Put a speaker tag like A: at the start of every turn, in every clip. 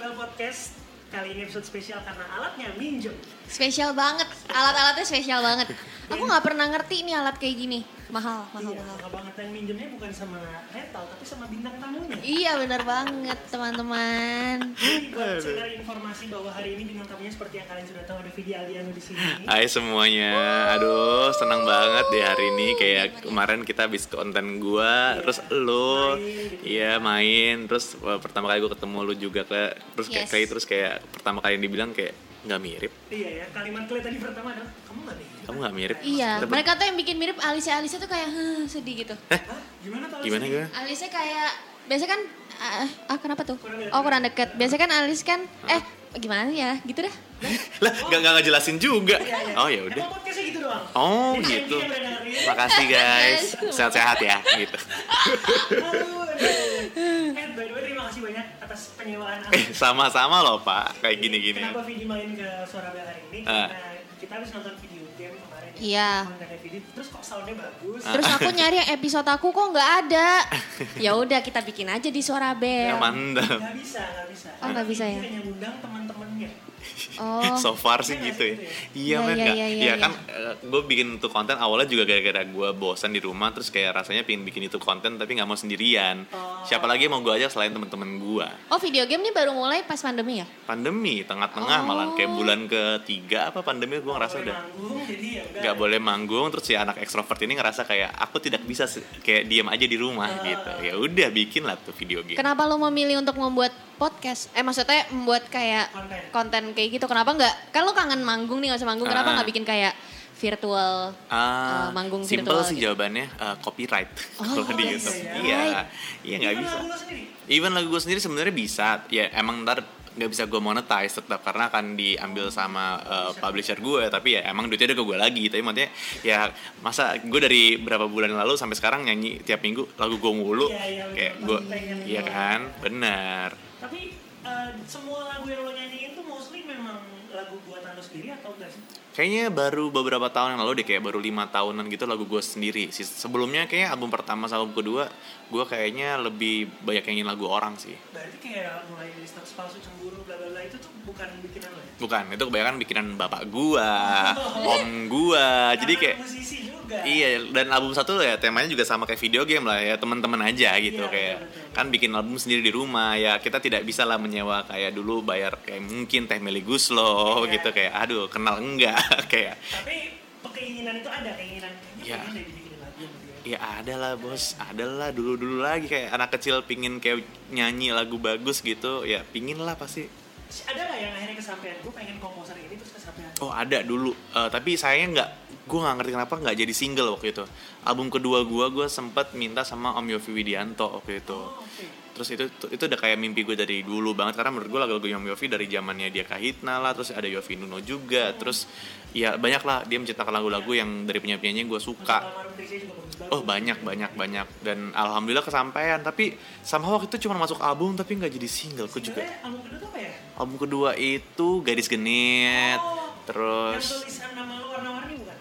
A: podcast kali ini episode spesial karena alatnya minjem.
B: Spesial banget, alat-alatnya spesial banget. Aku nggak pernah ngerti nih alat kayak gini. Mahal, mahal,
A: iya,
B: mahal.
A: mahal banget dan minjemnya bukan sama rental tapi sama bintang tamunya.
B: Iya bener banget teman-teman.
A: Jadi buat sekedar informasi bahwa hari ini bintang tamunya seperti yang kalian sudah tahu ada Vidi Aldiano di sini.
C: Hai semuanya, aduh senang banget deh hari ini kayak kemarin kita habis konten gua, terus lu, iya main, terus wah, pertama kali gua ketemu lu juga kayak terus kayak
B: Yes.
C: kayak- terus kayak pertama kali dibilang kayak nggak mirip,
A: Iya ya, kalimat kalian tadi pertama adalah kamu nggak nih?
C: kamu nggak mirip.
B: Iya,
C: Kita ber-
B: mereka tuh yang bikin mirip Alisa-Alisa tuh kayak "Huh," sedih gitu.
A: Hah? Gimana tuh?
C: gimana
A: Alisa?
C: gimana?
B: Alisnya kayak biasa kan ah, ah kenapa tuh?
A: Kurang dekat.
B: Oh kurang deket. Biasa kan alis kan eh gimana ya gitu dah.
C: Lah nggak nggak ngejelasin juga.
B: Iya,
C: Oh ya udah.
A: Iya, Emang podcastnya gitu doang.
C: Oh
A: Jadi
C: gitu.
A: yang udah dengerin.
C: Makasih guys, sehat-sehat ya gitu.
A: Aduh, aduh. Eh, by the way terima kasih banyak atas penyewaan
C: Eh sama-sama loh pak, kayak gini-gini.
A: Kenapa Vidi main ke Surabaya hari ini?
C: Ah.
A: Karena kita habis nonton video game kemarin. ya.
B: Iya.
A: Kontennya Vidi, terus kok soundnya bagus.
B: Terus aku nyari yang episode aku kok nggak ada. Ya udah kita bikin aja di suara
C: Ya,
B: bel.
C: mantap.
A: Gak bisa, gak bisa.
B: Oh, nggak bisa
A: Vidi
B: ya?
A: hanya ngundang teman-temannya.
B: Oh.
C: so far sih
A: Iya,
C: gitu ya.
A: gitu ya.
C: Iya
B: Iya, iya,
C: men, nggak-
B: iya,
C: ya,
B: iya,
C: kan gue bikin tuh konten awalnya juga gara-gara gue bosan di rumah terus kayak rasanya pingin bikin itu konten tapi nggak mau sendirian. Siapa lagi yang mau gue ajak selain teman-teman gue?
B: Oh video game nih baru mulai pas pandemi ya?
C: Pandemi tengah-tengah
B: Oh.
C: malah kayak bulan ketiga apa pandemi gue ngerasa
A: Boleh
C: udah
A: manggung, jadi ya udah.
C: nggak boleh manggung terus si anak ekstrovert ini ngerasa kayak aku tidak bisa se- kayak diam aja di rumah gitu. Ya udah bikin lah tuh video game.
B: Oh. Kenapa lo memilih untuk membuat podcast? Eh maksudnya membuat kayak
A: Konten.
B: konten kayak gitu. Kenapa nggak? Kan lo kangen manggung nih nggak usah manggung. Kenapa
C: Ah.
B: nggak bikin kayak virtual eh,
C: Ah,
B: manggung
C: simple
B: virtual?
C: sih
B: gitu?
C: jawabannya eh, copyright kalau
B: iya,
C: di YouTube.
A: iya,
B: iya.
C: Iya, iya nggak
A: Gimana
C: bisa.
A: lagu lo sendiri?
C: Even lagu gue sendiri sebenarnya bisa. Ya emang ntar nggak bisa gue monetize tetap karena akan diambil sama uh, publisher gue tapi ya emang duitnya ada ke gue lagi tapi maksudnya ya masa gue dari berapa bulan lalu sampai sekarang nyanyi tiap minggu lagu gue mulu
A: Iya, iya, bener.
C: kayak gue
A: Pengen
C: iya
A: gue.
C: kan benar
A: Tapi eh, semua lagu yang lo nyanyiin tuh mostly memang lagu buatan lo sendiri atau enggak sih?
C: Kayaknya baru beberapa tahun yang lalu deh kayak baru lima tahunan gitu lagu gue sendiri. Si- Sebelumnya kayaknya album pertama sama album kedua gue kayaknya lebih banyak nyanyiin lagu orang sih.
A: Berarti kayak mulai dari stok palsu cemburu bla bla bla itu tuh bukan bikinan lo ya?
C: Bukan, itu kebanyakan bikinan bapak gua, om gua. Ah, Jadi
A: Karena
C: kayak
A: musisi juga.
C: Iya, dan album satu ya temanya juga sama kayak video game lah ya, teman-teman aja gitu
A: Iya,
C: kayak.
A: betul-betul.
C: Kan bikin album sendiri di rumah ya, kita tidak bisa lah menyewa kayak dulu bayar kayak mungkin teh Meli Guslo
A: Iya.
C: gitu kayak aduh kenal enggak kayak
A: Tapi keinginan itu ada keinginan.
C: Iya.
A: Iya. Pengen deh dibikin lagu sama dia.
C: Ya ada lah bos, ada lah dulu-dulu lagi kayak anak kecil pingin kayak nyanyi lagu bagus gitu Ya pingin lah pasti
A: Ada nggak yang akhirnya kesampaian? Gue pengen komposer ini terus kesampaian.
C: Oh ada dulu, Eh, tapi sayangnya nggak Gue nggak ngerti kenapa nggak jadi single waktu itu Album kedua gue, gue sempet minta sama Om Yofi Widianto waktu itu
A: Oh, oke.
C: Terus itu itu udah kayak mimpi gue dari dulu banget Karena menurut gue lagu-lagu Om Yofi dari zamannya dia Kahitna lah Terus ada Yofi Nuno juga Terus ya banyak lah dia menciptakan lagu-lagu yang dari penyanyi-penyanyinya gue suka
A: Masuk Almarhum Trisha juga bagus banget.
C: Oh banyak banyak banyak dan alhamdulillah kesampaian tapi sama waktu itu cuma masuk album tapi nggak jadi single aku juga
A: Sebenarnya album kedua tuh apa ya?
C: album kedua itu gadis genit
A: Oh, Yang
C: terus
A: tulisan nama lo warna-warni bukan?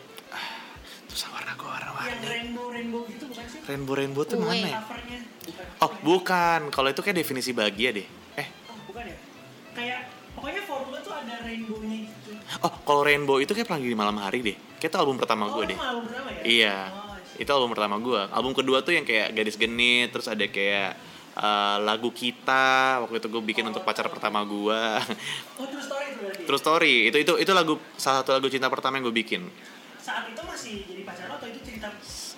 C: terus warna gua warna
A: Yang
C: warni
A: rainbow rainbow gitu bukan sih?
C: rainbow rainbow tuh
B: Uwe.
C: mana ya?
A: Covernya bukan?
C: Oh bukan kalau itu kayak definisi bahagia deh eh
A: Oh, bukan ya? Kayak pokoknya formula tuh ada rainbownya gitu.
C: oh kalau rainbow itu kayak pelangi di malam hari deh kayak itu album pertama
A: oh,
C: gue deh
A: lo album pertama ya?
C: Iya.
A: Oh,
C: Itu album pertama gua. Album kedua tuh yang kayak Gadis Genit, terus ada kayak eh, lagu kita waktu itu gue bikin untuk pacar pertama gua.
A: oh terus story itu berarti.
C: True story. Itu itu itu lagu salah satu lagu cinta pertama yang gue bikin.
A: Saat itu masih jadi pacar lo atau itu cerita?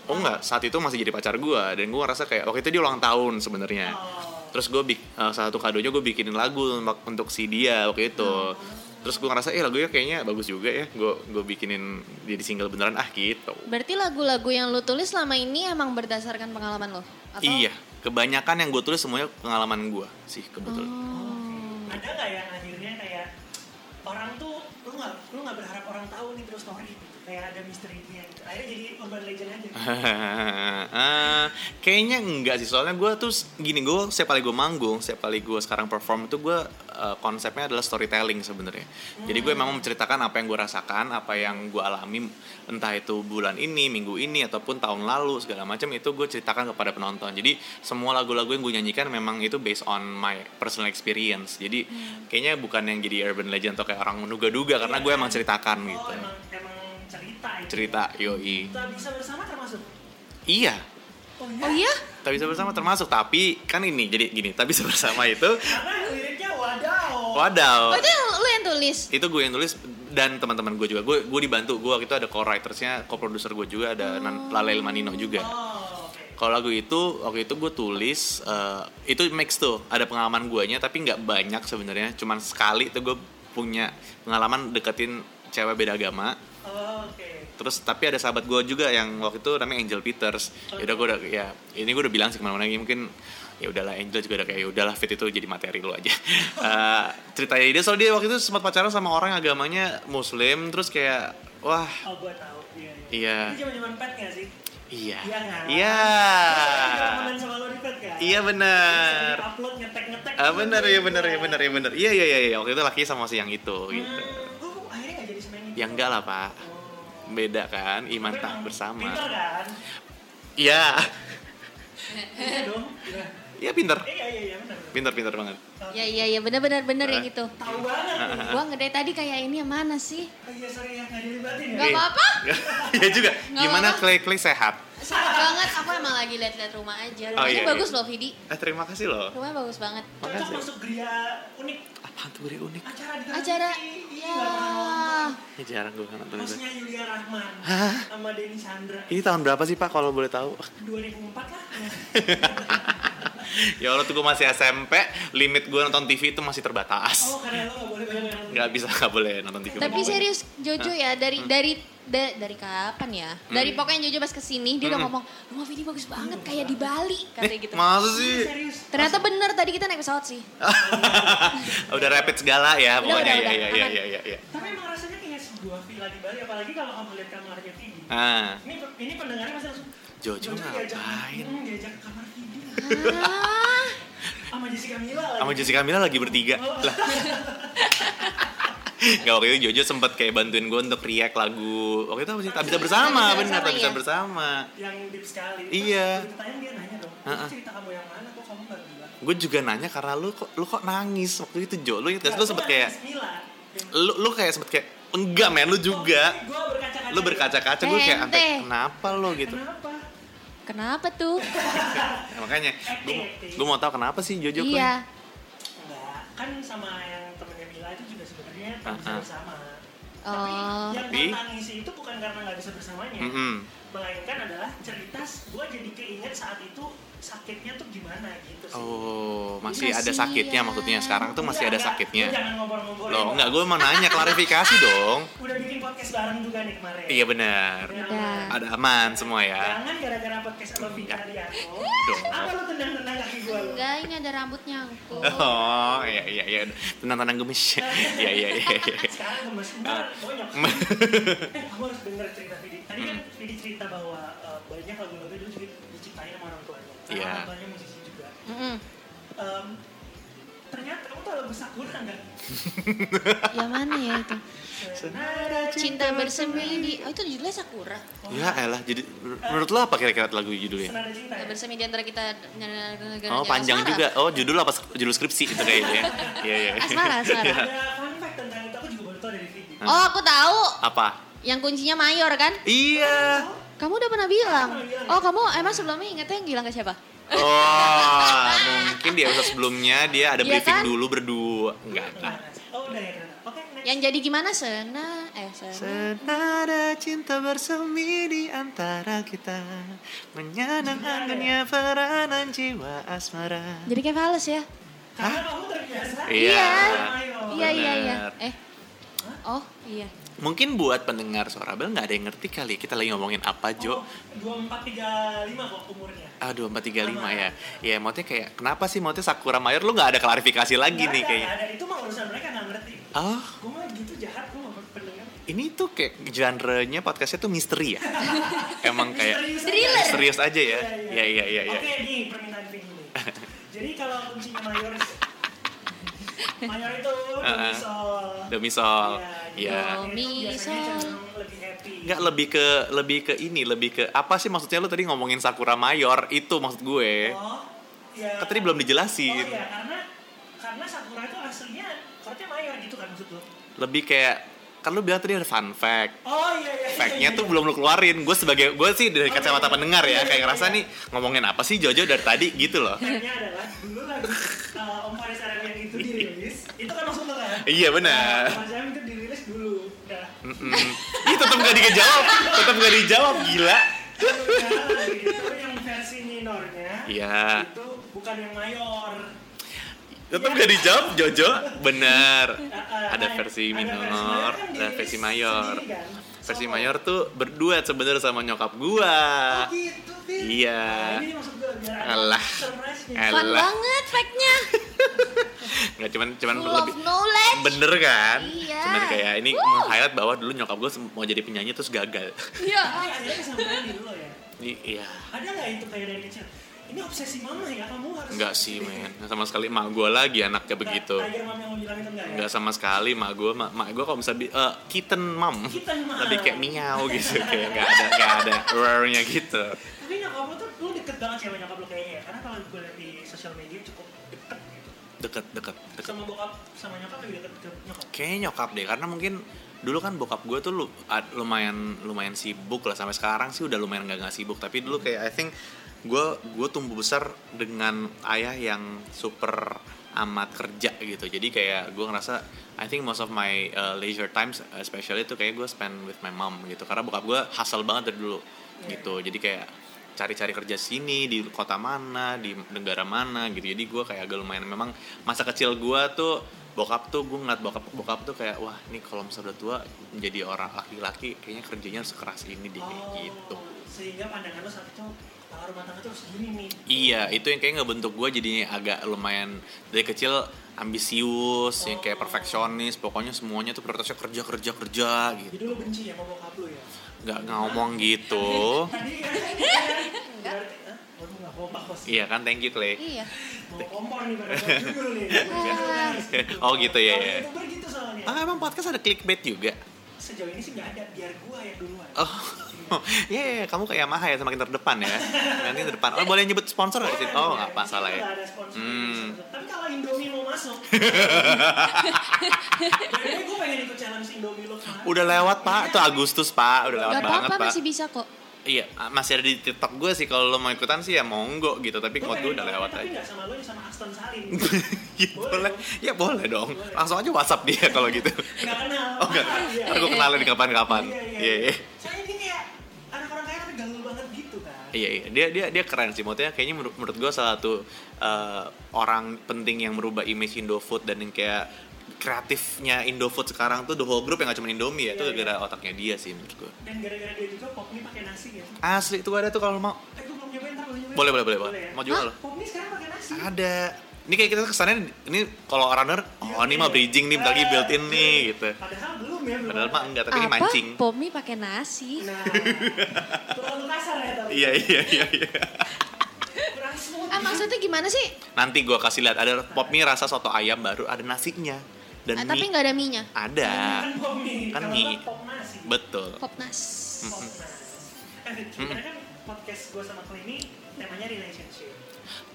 C: Oh enggak, saat itu masih jadi pacar gua dan gua ngerasa kayak waktu itu dia ulang tahun sebenarnya.
A: Oh.
C: Terus gue salah satu kadonya gue bikinin lagu mak- untuk si dia waktu itu. Terus gue ngerasa eh lagunya kayaknya bagus juga ya. Gue gue bikinin jadi single beneran ah gitu.
B: Berarti lagu-lagu yang lo tulis selama ini emang berdasarkan pengalaman lo? Atau-
C: Iya, kebanyakan yang gue tulis semuanya pengalaman gue sih kebetulan.
A: Ada nggak yang akhirnya kayak orang tuh lu nggak lu nggak berharap orang tahu nih terus story gitu. kayak ada misterinya gitu. Akhirnya jadi urban legend aja.
C: Eh, kayaknya enggak sih soalnya gue tuh s- gini gue setiap kali gue manggung setiap kali gue sekarang perform itu gue eh, konsepnya adalah storytelling sebenarnya. Jadi gue memang menceritakan apa yang gue rasakan, apa yang gue alami entah itu bulan ini, minggu ini ataupun tahun lalu segala macam itu gue ceritakan kepada penonton. Jadi semua lagu-lagu yang gue nyanyikan memang itu based on my personal experience. Jadi kayaknya bukan yang jadi urban legend atau kayak orang menduga-duga karena gue emang ceritakan
A: oh,
C: gitu.
A: emang, emang cerita itu.
C: Cerita yoi.
A: Tak bisa bersama kan, termasuk.
C: Iya,
A: Oh
B: Oh iya?
C: tak bisa bersama termasuk tapi kan ini jadi gini, tak bisa bersama itu
A: Karena liriknya wadaw.
C: wadaw.
B: Oh itu yang lu yang tulis?
C: itu gue yang nulis dan teman-teman gue juga gue gue dibantu gue waktu itu ada co-writersnya co-producer gue juga ada Nan- Lalel Manino juga
A: Oh, oke.
C: kalau lagu itu waktu itu gue tulis eh, itu mix tuh ada pengalaman guanya tapi nggak banyak sebenarnya cuman sekali tuh gue punya pengalaman deketin cewek beda agama
A: Oh, Oke.
C: terus tapi ada sahabat gue juga yang waktu itu namanya Angel Peters
A: Oh,
C: ya udah
A: iya.
C: gue udah ya ini gue udah bilang sih kemana-mana ini mungkin ya udahlah Angel juga udah kayak ya udahlah fit itu jadi materi lu aja Eh, ceritanya dia soal dia waktu itu sempat pacaran sama orang agamanya Muslim terus kayak wah
A: Oh, gua tahu. Iya.
C: Iya.
A: Ini zaman-zaman pet nggak sih?
C: iya
A: Iya nggak?
C: iya
A: Temen sama lo di pet kan?
C: iya benar
A: Sering Upload ngetek-ngetek. gitu.
C: ah benar ya benar ya benar ya benar iya iya iya iya. waktu itu laki sama si yang itu gitu
A: Hmm, gua kok akhirnya nggak jadi gitu? semen ini.
C: ya enggak lah pak
A: Oh.
C: beda kan iman
A: Tapi
C: tak
A: emang Pintar
C: bersama
A: kan?
C: iya
A: Iya
C: Eh.
A: dong. Iya.
C: iya pinter
A: Iya, iya, iya, benar.
C: pinter pinter banget
B: Ya iya iya benar-benar benar
C: Ah.
B: yang itu.
A: Tahu banget. lu.
B: Gua ngedate tadi kayak ini yang mana sih?
C: ah.
A: Oh iya, sorry ya, nggak dilibatin ya.
B: Nggak
C: Iya.
B: apa-apa.
C: Iya juga.
B: Nggak
C: Gimana
B: apa-apa.
C: Clay Clay sehat?
B: Sakit banget aku emang lagi lihat-lihat rumah aja.
C: Oh,
B: Rumahnya
C: iya,
B: bagus
C: iya.
B: loh Vidi.
C: Eh terima kasih loh.
B: Rumahnya bagus banget.
A: Cocok
C: Makasih.
A: masuk geria unik
C: Apaan tuh beri unik?
A: acara di Trans
B: Acara
A: TV. Iya,
B: ya.
A: nggak pernah nonton.
C: Ini jarang gue kan nonton itu.
A: Hostnya Yulia Rahman
C: Hah?
A: sama Denny Chandra.
C: Ini tahun berapa sih Pak kalau boleh tahu?
A: 2004 lah.
C: ya Allah tuh gue masih SMP, limit gue nonton TV itu masih terbatas.
A: Oh, karena lo nggak boleh banyak nonton.
C: Nggak bisa nggak boleh nonton TV.
B: Tapi
C: Ngomong.
B: serius Jojo ya dari
C: Hmm.
B: dari da- dari kapan ya? Dari pokoknya Jojo pas kesini dia udah
C: Hmm.
B: ngomong rumah Vidi bagus banget kayak di Bali
C: Eh,
B: katanya gitu.
C: Masa sih?
A: Serius.
B: Ternyata bener tadi kita naik pesawat sih.
C: udah rapid segala ya
B: Udah,
C: pokoknya.
B: udah,
C: Iya
B: udah.
C: iya iya
B: Aman.
C: iya iya. Ya.
A: Tapi emang rasanya kayak sebuah villa di Bali, apalagi kalau kamu lihat kamarnya Vidi.
C: Ah,
A: Ini ini pendengarnya pasti langsung.
C: Jojo
A: diajak,
C: ngapain?
A: hmm, diajak ke kamar Vidi lah.
B: Ah,
A: Sama Jessica Mila lagi.
C: sama Jessica Mila lagi bertiga.
A: Oh.
C: Ya, Lah. Gak waktu itu Jojo sempet kayak bantuin gue untuk react lagu Waktu itu apa sih? Tak bisa bersama,
B: Tak Bisa
C: bener,
B: Bersama,
C: tak bisa
B: iya.
C: bersama
A: yang deep sekali.
C: Iya.
A: Terus Ditanya dia nanya dong,
C: Ha-ha.
A: "Ini cerita kamu yang mana kok kamu nggak bilang?
C: gue juga nanya karena lu kok lu kok nangis waktu itu Jo lu inget gak sih? lu
A: Nah,
C: sempet
A: gua
C: kayak
A: nangis Mila. Yang-
C: lu lu kayak sempet kayak enggak men lu juga
A: Gua berkaca-kaca.
C: lu berkaca-kaca gue kayak
B: Ente.
C: sampai kenapa lo gitu
A: Kenapa?
B: kenapa tuh?
C: Ya, makanya gue gue mau tahu kenapa sih Jojo Kun?
B: iya.
A: Enggak, kan sama yang temennya Mila itu juga sebenarnya tak bisa
C: Ha-ha.
A: bersama.
B: Oh.
A: Tapi yang
C: Tapi-
A: gue
C: Mm-hmm.
A: tangisi itu bukan karena nggak bisa bersamanya,
C: Mm-mm.
A: melainkan adalah cerita gue jadi keinget saat itu sakitnya tuh gimana gitu sih.
C: oh masih ada
B: Kasian.
C: sakitnya maksudnya sekarang tuh masih ada
A: Enggak, enggak. Lu
C: sakitnya
A: Jangan ngobrol-ngobrol. ya.
C: lo enggak gue mau nanya klarifikasi dong
A: Udah bikin podcast bareng juga nih kemarin.
C: iya benar
B: Udah.
C: ada aman semua ya
A: Jangan gara-gara podcast sama Vika Rianto.
C: Dong.
A: Apa lu tendang-tendang kaki gue lu?
B: Enggak, ini ada rambut nyangkut.
C: oh iya iya iya tenang tenang gemes iya iya iya iya.
A: Kan Sekarang gemes,
C: Ah.
A: ntar bonyok. eh, kamu harus denger cerita Vidi. Tadi kan Vidi cerita bahwa eh, banyak lagu-lagu dulu juga diciptain sama orang tuanya. Karena
C: Iya.
A: orang tuanya musisi juga.
B: Mm-mm.
A: Em, ternyata kamu tau lagu Sakura nggak?
B: Yang mana ya itu?
A: Senada
B: Cinta bersemi di Oh itu judulnya Sakura.
C: ya elah jadi menurut lo apa kira-kira lagu judulnya
A: Senada cinta
B: Ya,
A: ya?
B: bersemi di antara kita dengan negara
C: Oh panjang juga. Oh judul apa sk- judul skripsi itu kayaknya. Iya iya.
B: Asmara, asmara.
A: Ada fun fact tentang itu, aku juga baru tau dari Vidi.
C: Ah.
B: Oh, aku tahu.
C: Apa?
B: Yang kuncinya mayor kan?
C: Iya.
B: Kamu udah pernah bilang.
A: Aku pernah bilang.
B: Oh, kamu emang sebelumnya ingetnya yang bilang ke siapa?
C: Oh mungkin di episode sebelumnya dia ada
B: Iya
C: briefing
B: kan?
C: dulu berdua. Enggak. enggak.
A: Gimana? Oh udah ya ternyata. Oke, next.
B: Yang jadi gimana? Sena, eh Sena.
C: Senada cinta bersemi di antara kita Menyanang
B: ya.
C: angannya peranan jiwa asmara
B: Jadi kayak fals ya?
A: Karena kamu terbiasa.
C: Iya.
B: Iya, iya, iya.
C: Bener.
B: Eh. Oh, iya.
C: Mungkin buat pendengar suara bel nggak ada yang ngerti kali ya, Kita lagi ngomongin apa
B: Oh.
C: Jo?
A: Dua empat tiga lima kok umurnya.
C: Aduh, 435 ya. Ya, maksudnya kayak kenapa sih maksudnya Sakura Mayer lu nggak ada klarifikasi lagi
A: Nggak
C: nih
A: ada,
C: kayaknya.
A: nggak ada. itu mah urusan mereka nggak ngerti.
C: Oh,
A: Gue mah gitu jahat gue sama pendengar.
C: ini tuh kayak genre-nya podcastnya tuh misteri ya. Emang kayak
A: Misterius
B: Thriller.
A: aja.
C: serius aja ya. Iya iya iya iya.
A: Oke, nih permintaan Vin ini. Jadi kalau kuncinya mayor Mayor itu
C: Heeh.
A: domisol.
C: Domisol.
A: Iya.
C: Iya.
A: jadi itu biasanya
B: Domisol.
A: cenderung lebih happy.
C: Nggak lebih ke lebih ke ini, lebih ke apa sih maksudnya lu tadi ngomongin Sakura Mayor itu maksud gue.
A: Oh, ya.
C: Kan tadi belum
A: Oh
C: dijelasin.
A: iya, karena karena Sakura itu aslinya kortnya mayor gitu kan maksud lo.
C: Lebih kayak kan lu bilang tadi ada fun fact.
A: Oh iya iya. iya,
C: Fact-nya
A: iya,
C: tuh
A: iya.
C: belum lu keluarin. Gue sebagai gue sih dari
A: Oh, iya,
C: kacamata
A: iya.
C: pendengar
A: Iya,
C: ya
A: iya,
C: kayak ngerasa
A: iya.
C: nih ngomongin apa sih Jojo dari tadi gitu loh.
A: Fact-nya adalah dulu lagi uh, Om Faris Arabian itu dirilis, itu kan maksud lo kan?
C: Iya, benar.
A: Nah, Om Faris
C: Hmm.
A: Arabian itu dirilis dulu. Nah,
C: Mm-mm. Ih tetap gak dijawab, tetap gak dijawab gila.
A: Nah, itu yang versi minornya.
C: Iya,
A: Itu bukan yang mayor.
C: tetap gak dijawab Jojo. Bener,
A: Nah,
C: ada
A: nah,
C: versi
A: ada versi
C: minor,
A: kan
C: ada
A: dirilis
C: versi mayor.
A: sendiri kan?
C: Versi
A: Sama.
C: mayor tuh berduet sebenarnya sama nyokap gua.
A: Oh gitu, Fit.
C: Iya.
A: Nah, ini maksud gue biar ada
C: Alah.
A: surprise-nya.
C: Eh,
B: Fun
C: Elah.
B: banget fact-nya.
C: Nggak cuman cuman
B: Full of
C: lebih
B: knowledge.
C: bener kan?
B: Oh, Iya.
C: Cuman kayak ini
B: Woo.
C: meng-highlight bahwa dulu nyokap gua sem- mau jadi penyanyi terus gagal.
B: Iya.
A: Ay, ada kesamaan di lo ya.
C: I- Iya.
A: Ada nggak itu kayak dari kecil? Ini obsesi mama ya kamu harus.
C: Enggak sih men, sama sekali emak gua lagi anaknya begitu.
A: Tiger mama yang mau bilang itu enggak ya?
C: Enggak sama sekali mak gue mak, mak gue kalau bisa bi- eh, kitten mom
A: Kitten mom.
C: lebih kayak miau gitu kayak nggak ada nggak ada roarnya gitu
A: Tapi nyokap lo tuh lu deket banget sama nyokap lo kayaknya ya. Karena kalau gue lihat di sosial media cukup deket gitu.
C: deket deket deket
A: Sama bokap sama nyokap lebih deket ke nyokap.
C: kayaknya nyokap deh karena mungkin dulu kan bokap gue tuh lu- ad- lumayan lumayan sibuk lah sampai sekarang sih udah lumayan nggak nggak sibuk tapi dulu kayak I think gue gue tumbuh besar dengan ayah yang super amat kerja gitu jadi kayak gue ngerasa I think most of my uh, leisure times especially tuh kayak gue spend with my mom gitu karena bokap gue hustle banget dari dulu gitu jadi kayak cari-cari kerja sini di kota mana di negara mana gitu jadi gue kayak agak lumayan memang masa kecil gue tuh bokap tuh gue ngeliat bokap bokap tuh kayak wah ini kalau misalnya udah tua jadi orang laki-laki kayaknya kerjanya harus keras ini deh
A: Oh.
C: kayak gitu
A: Sehingga pandangan lo saat itu kepala rumah tangga tuh harus gini nih.
C: iya itu yang kayak ngebentuk gue jadinya agak lumayan dari kecil ambisius yang kayak
A: Oh.
C: perfeksionis pokoknya semuanya tuh prioritasnya kerja kerja kerja gitu
A: Jadi lo benci ya sama bokap lo ya?
C: nggak ngomong gitu
A: Tadi kan berarti ah, lo nggak kompak bos.
C: iya kan thank you Clay
B: Iya.
A: Mau kompor nih pada judul nih.
C: Oh, gitu ya, ya.
A: Youtuber gitu soalnya.
C: ah emang podcast ada clickbait juga
A: Sejauh ini sih nggak ada. Biar gua yang duluan.
C: Oh, iya, iya, kamu kayak Yamaha ya, semakin terdepan ya. Nanti terdepan. Oh, boleh nyebut sponsor nggak di situ? Oh, nggak masalah ya.
A: Nggak ada sponsor.
C: Hmm.
A: Tapi kalau Indomie mau masuk. Jadi gue pengen ikut challenge Indomie lo Iya. kemarin.
C: Udah lewat pak, itu Agustus pak, udah
B: Gak
C: lewat banget
B: apa-apa
C: pak.
B: masih bisa kok.
C: Iya, masih ada di TikTok gue sih. Kalau lo mau ikutan sih ya monggo gitu, tapi
A: Gua
C: kalau gue
A: pengen
C: udah
A: ikut,
C: lewat
A: Tapi
C: aja.
A: nggak sama lo, sama Aston Salim.
C: ya, boleh, ya boleh dong.
A: Boleh.
C: Langsung aja WhatsApp dia kalau gitu.
A: Nggak kenal.
C: Oh enggak,
A: Iya.
C: aku kenalin kapan-kapan.
A: Iya,
C: Iya, iya.
A: Soalnya ini kayak anak orang kaya tapi gaul banget gitu kan.
C: Iya, iya. Dia dia dia keren sih. Maksudnya kayaknya menurut, menurut gue salah satu eh, orang penting yang merubah image Indofood dan yang kayak kreatifnya Indofood sekarang tuh the whole group yang gak cuma Indomie ya itu
A: Iya, iya.
C: gara-gara otaknya dia sih menurut gue.
A: Dan gara-gara dia juga popmi pakai nasi ya.
C: Asli tuh ada tuh kalau mau.
A: Eh gue belum nyobain, ntar gue nyobain.
C: Boleh, boleh, boleh, boleh.
A: ya?
C: Mau jual?
A: Popmi sekarang pakai nasi.
C: Ada. Ini kayak kita kesannya ini kalau runner,
A: Iya,
C: oh ini mah bridging nih, bentar
A: Eh,
C: lagi built in nih gitu.
A: Padahal belum ya, belum.
C: Padahal mah enggak, tapi ini
B: Apa?
C: mancing.
B: Pomi pakai nasi.
A: Nah, terlalu kasar ya tapi.
C: Iya, iya, iya, iya.
A: Kurang smooth.
B: Ah maksudnya gimana sih?
C: Nanti gua kasih lihat ada pop mie rasa soto ayam baru ada nasinya dan
B: Ah,
C: mie
B: tapi nggak ada minya.
C: ada.
A: Kan popmi.
C: Kan
A: Kalau
C: mie.
A: nggak pop nasi.
C: Betul.
B: Pop nas.
A: Pop nasi. Eh, Fit, sebenarnya kan podcast gue sama Clay ini temanya relationship.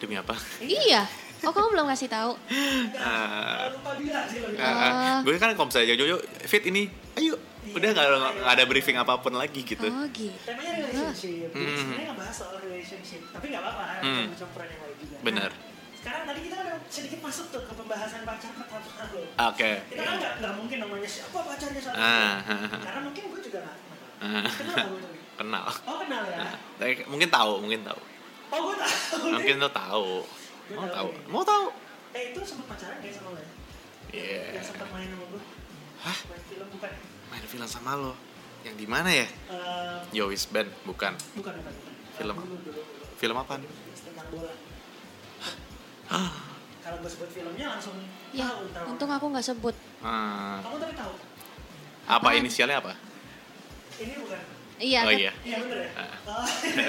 C: Demi apa?
B: Iya. Oh kamu belum kasih tahu.
A: Nah, lupa bilang sih lebih.
C: Ah, ah. gue kan kalau misalnya Jojo fit ini ayo
A: Iya.
C: udah nggak ada- nggak ada briefing apapun lagi gitu
B: Oh gitu.
A: Temanya relationship.
C: Hmm.
A: Sebenarnya ngebahas soal relationship, tapi nggak apa-apa.
C: Hmm.
A: Campuran yang lain juga. Nah,
C: bener
A: Sekarang tadi kita udah sedikit masuk tuh ke pembahasan pacar pertama lo.
C: oke
A: Kita kan nggak nggak mungkin namanya siapa pacarnya siapa.
C: Ah.
A: Karena mungkin gue juga nggak kenal.
C: Ah.
A: Kenal gue tapi.
C: kenal Nah,
A: Oh kenal ya?
C: Tapi mungkin tahu mungkin tahu
A: Oh gue tahu.
C: mungkin lo tahu
A: Gue
C: mau
A: tahu
C: tahu
A: nih.
C: mau tahu
A: Eh itu sempet pacaran gak sama lo ya?
C: Iya
A: Yang sempet main sama gue.
C: Hah?
A: Main film bukan.
C: main film sama lo yang di mana ya
A: Eh,
C: Yowis Band bukan
A: bukan bukan bukan.
C: Film.
A: Dulu dulu. dulu.
C: film apa
A: Tentang bola.
C: Ah.
A: Kalau gue sebut filmnya langsung
B: Ya,
A: tahu tahu.
B: untung aku nggak sebut.
A: Kamu tapi tahu.
C: Ah. apa
B: Apaan?
C: inisialnya apa
A: Ini bukan.
B: Iya.
C: oh
B: kan?
C: iya
A: Iya bener ya.
C: Ah.
A: Oh.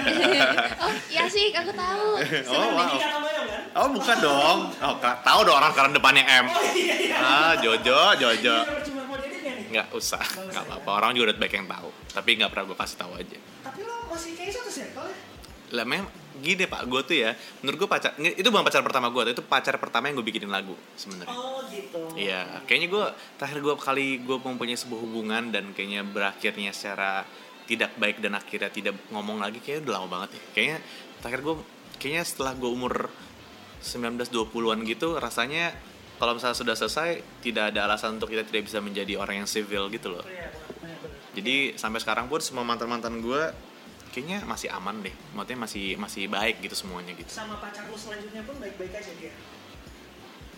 B: oh iya sih, aku tahu.
C: Oh, wow.
A: Dika Tambayong kan?
C: Oh bukan dong. Oh ka- tahu dong orang karena depannya M.
A: Oh iya iya.
C: Ah Jojo Jojo.
A: Ini nomor cuma mau jadi nggak nih?
C: Nggak usah. Nggak apa-apa. Orang juga udah baik yang tahu. Tapi nggak pernah gue kasih tahu aja.
A: Tapi lo masih kayak satu circle ya?
C: Lah memang gini pak, gue tuh ya, menurut gue pacar, nggak, itu bukan pacar pertama gue, itu pacar pertama yang gue bikinin lagu sebenarnya.
A: Oh gitu.
C: Iya, kayaknya gue terakhir gue kali gue mempunyai sebuah hubungan dan kayaknya berakhirnya secara tidak baik dan akhirnya tidak ngomong lagi kayaknya udah lama banget ya. Kayaknya terakhir gue kayaknya setelah gue umur 19-20-an gitu rasanya kalau misalnya sudah selesai tidak ada alasan untuk kita tidak bisa menjadi orang yang civil gitu loh.
A: Iya, benar-benar.
C: Jadi sampai sekarang pun semua mantan-mantan gue kayaknya masih aman deh. Maksudnya masih masih baik gitu semuanya gitu.
A: Sama pacar lo selanjutnya pun baik-baik aja dia?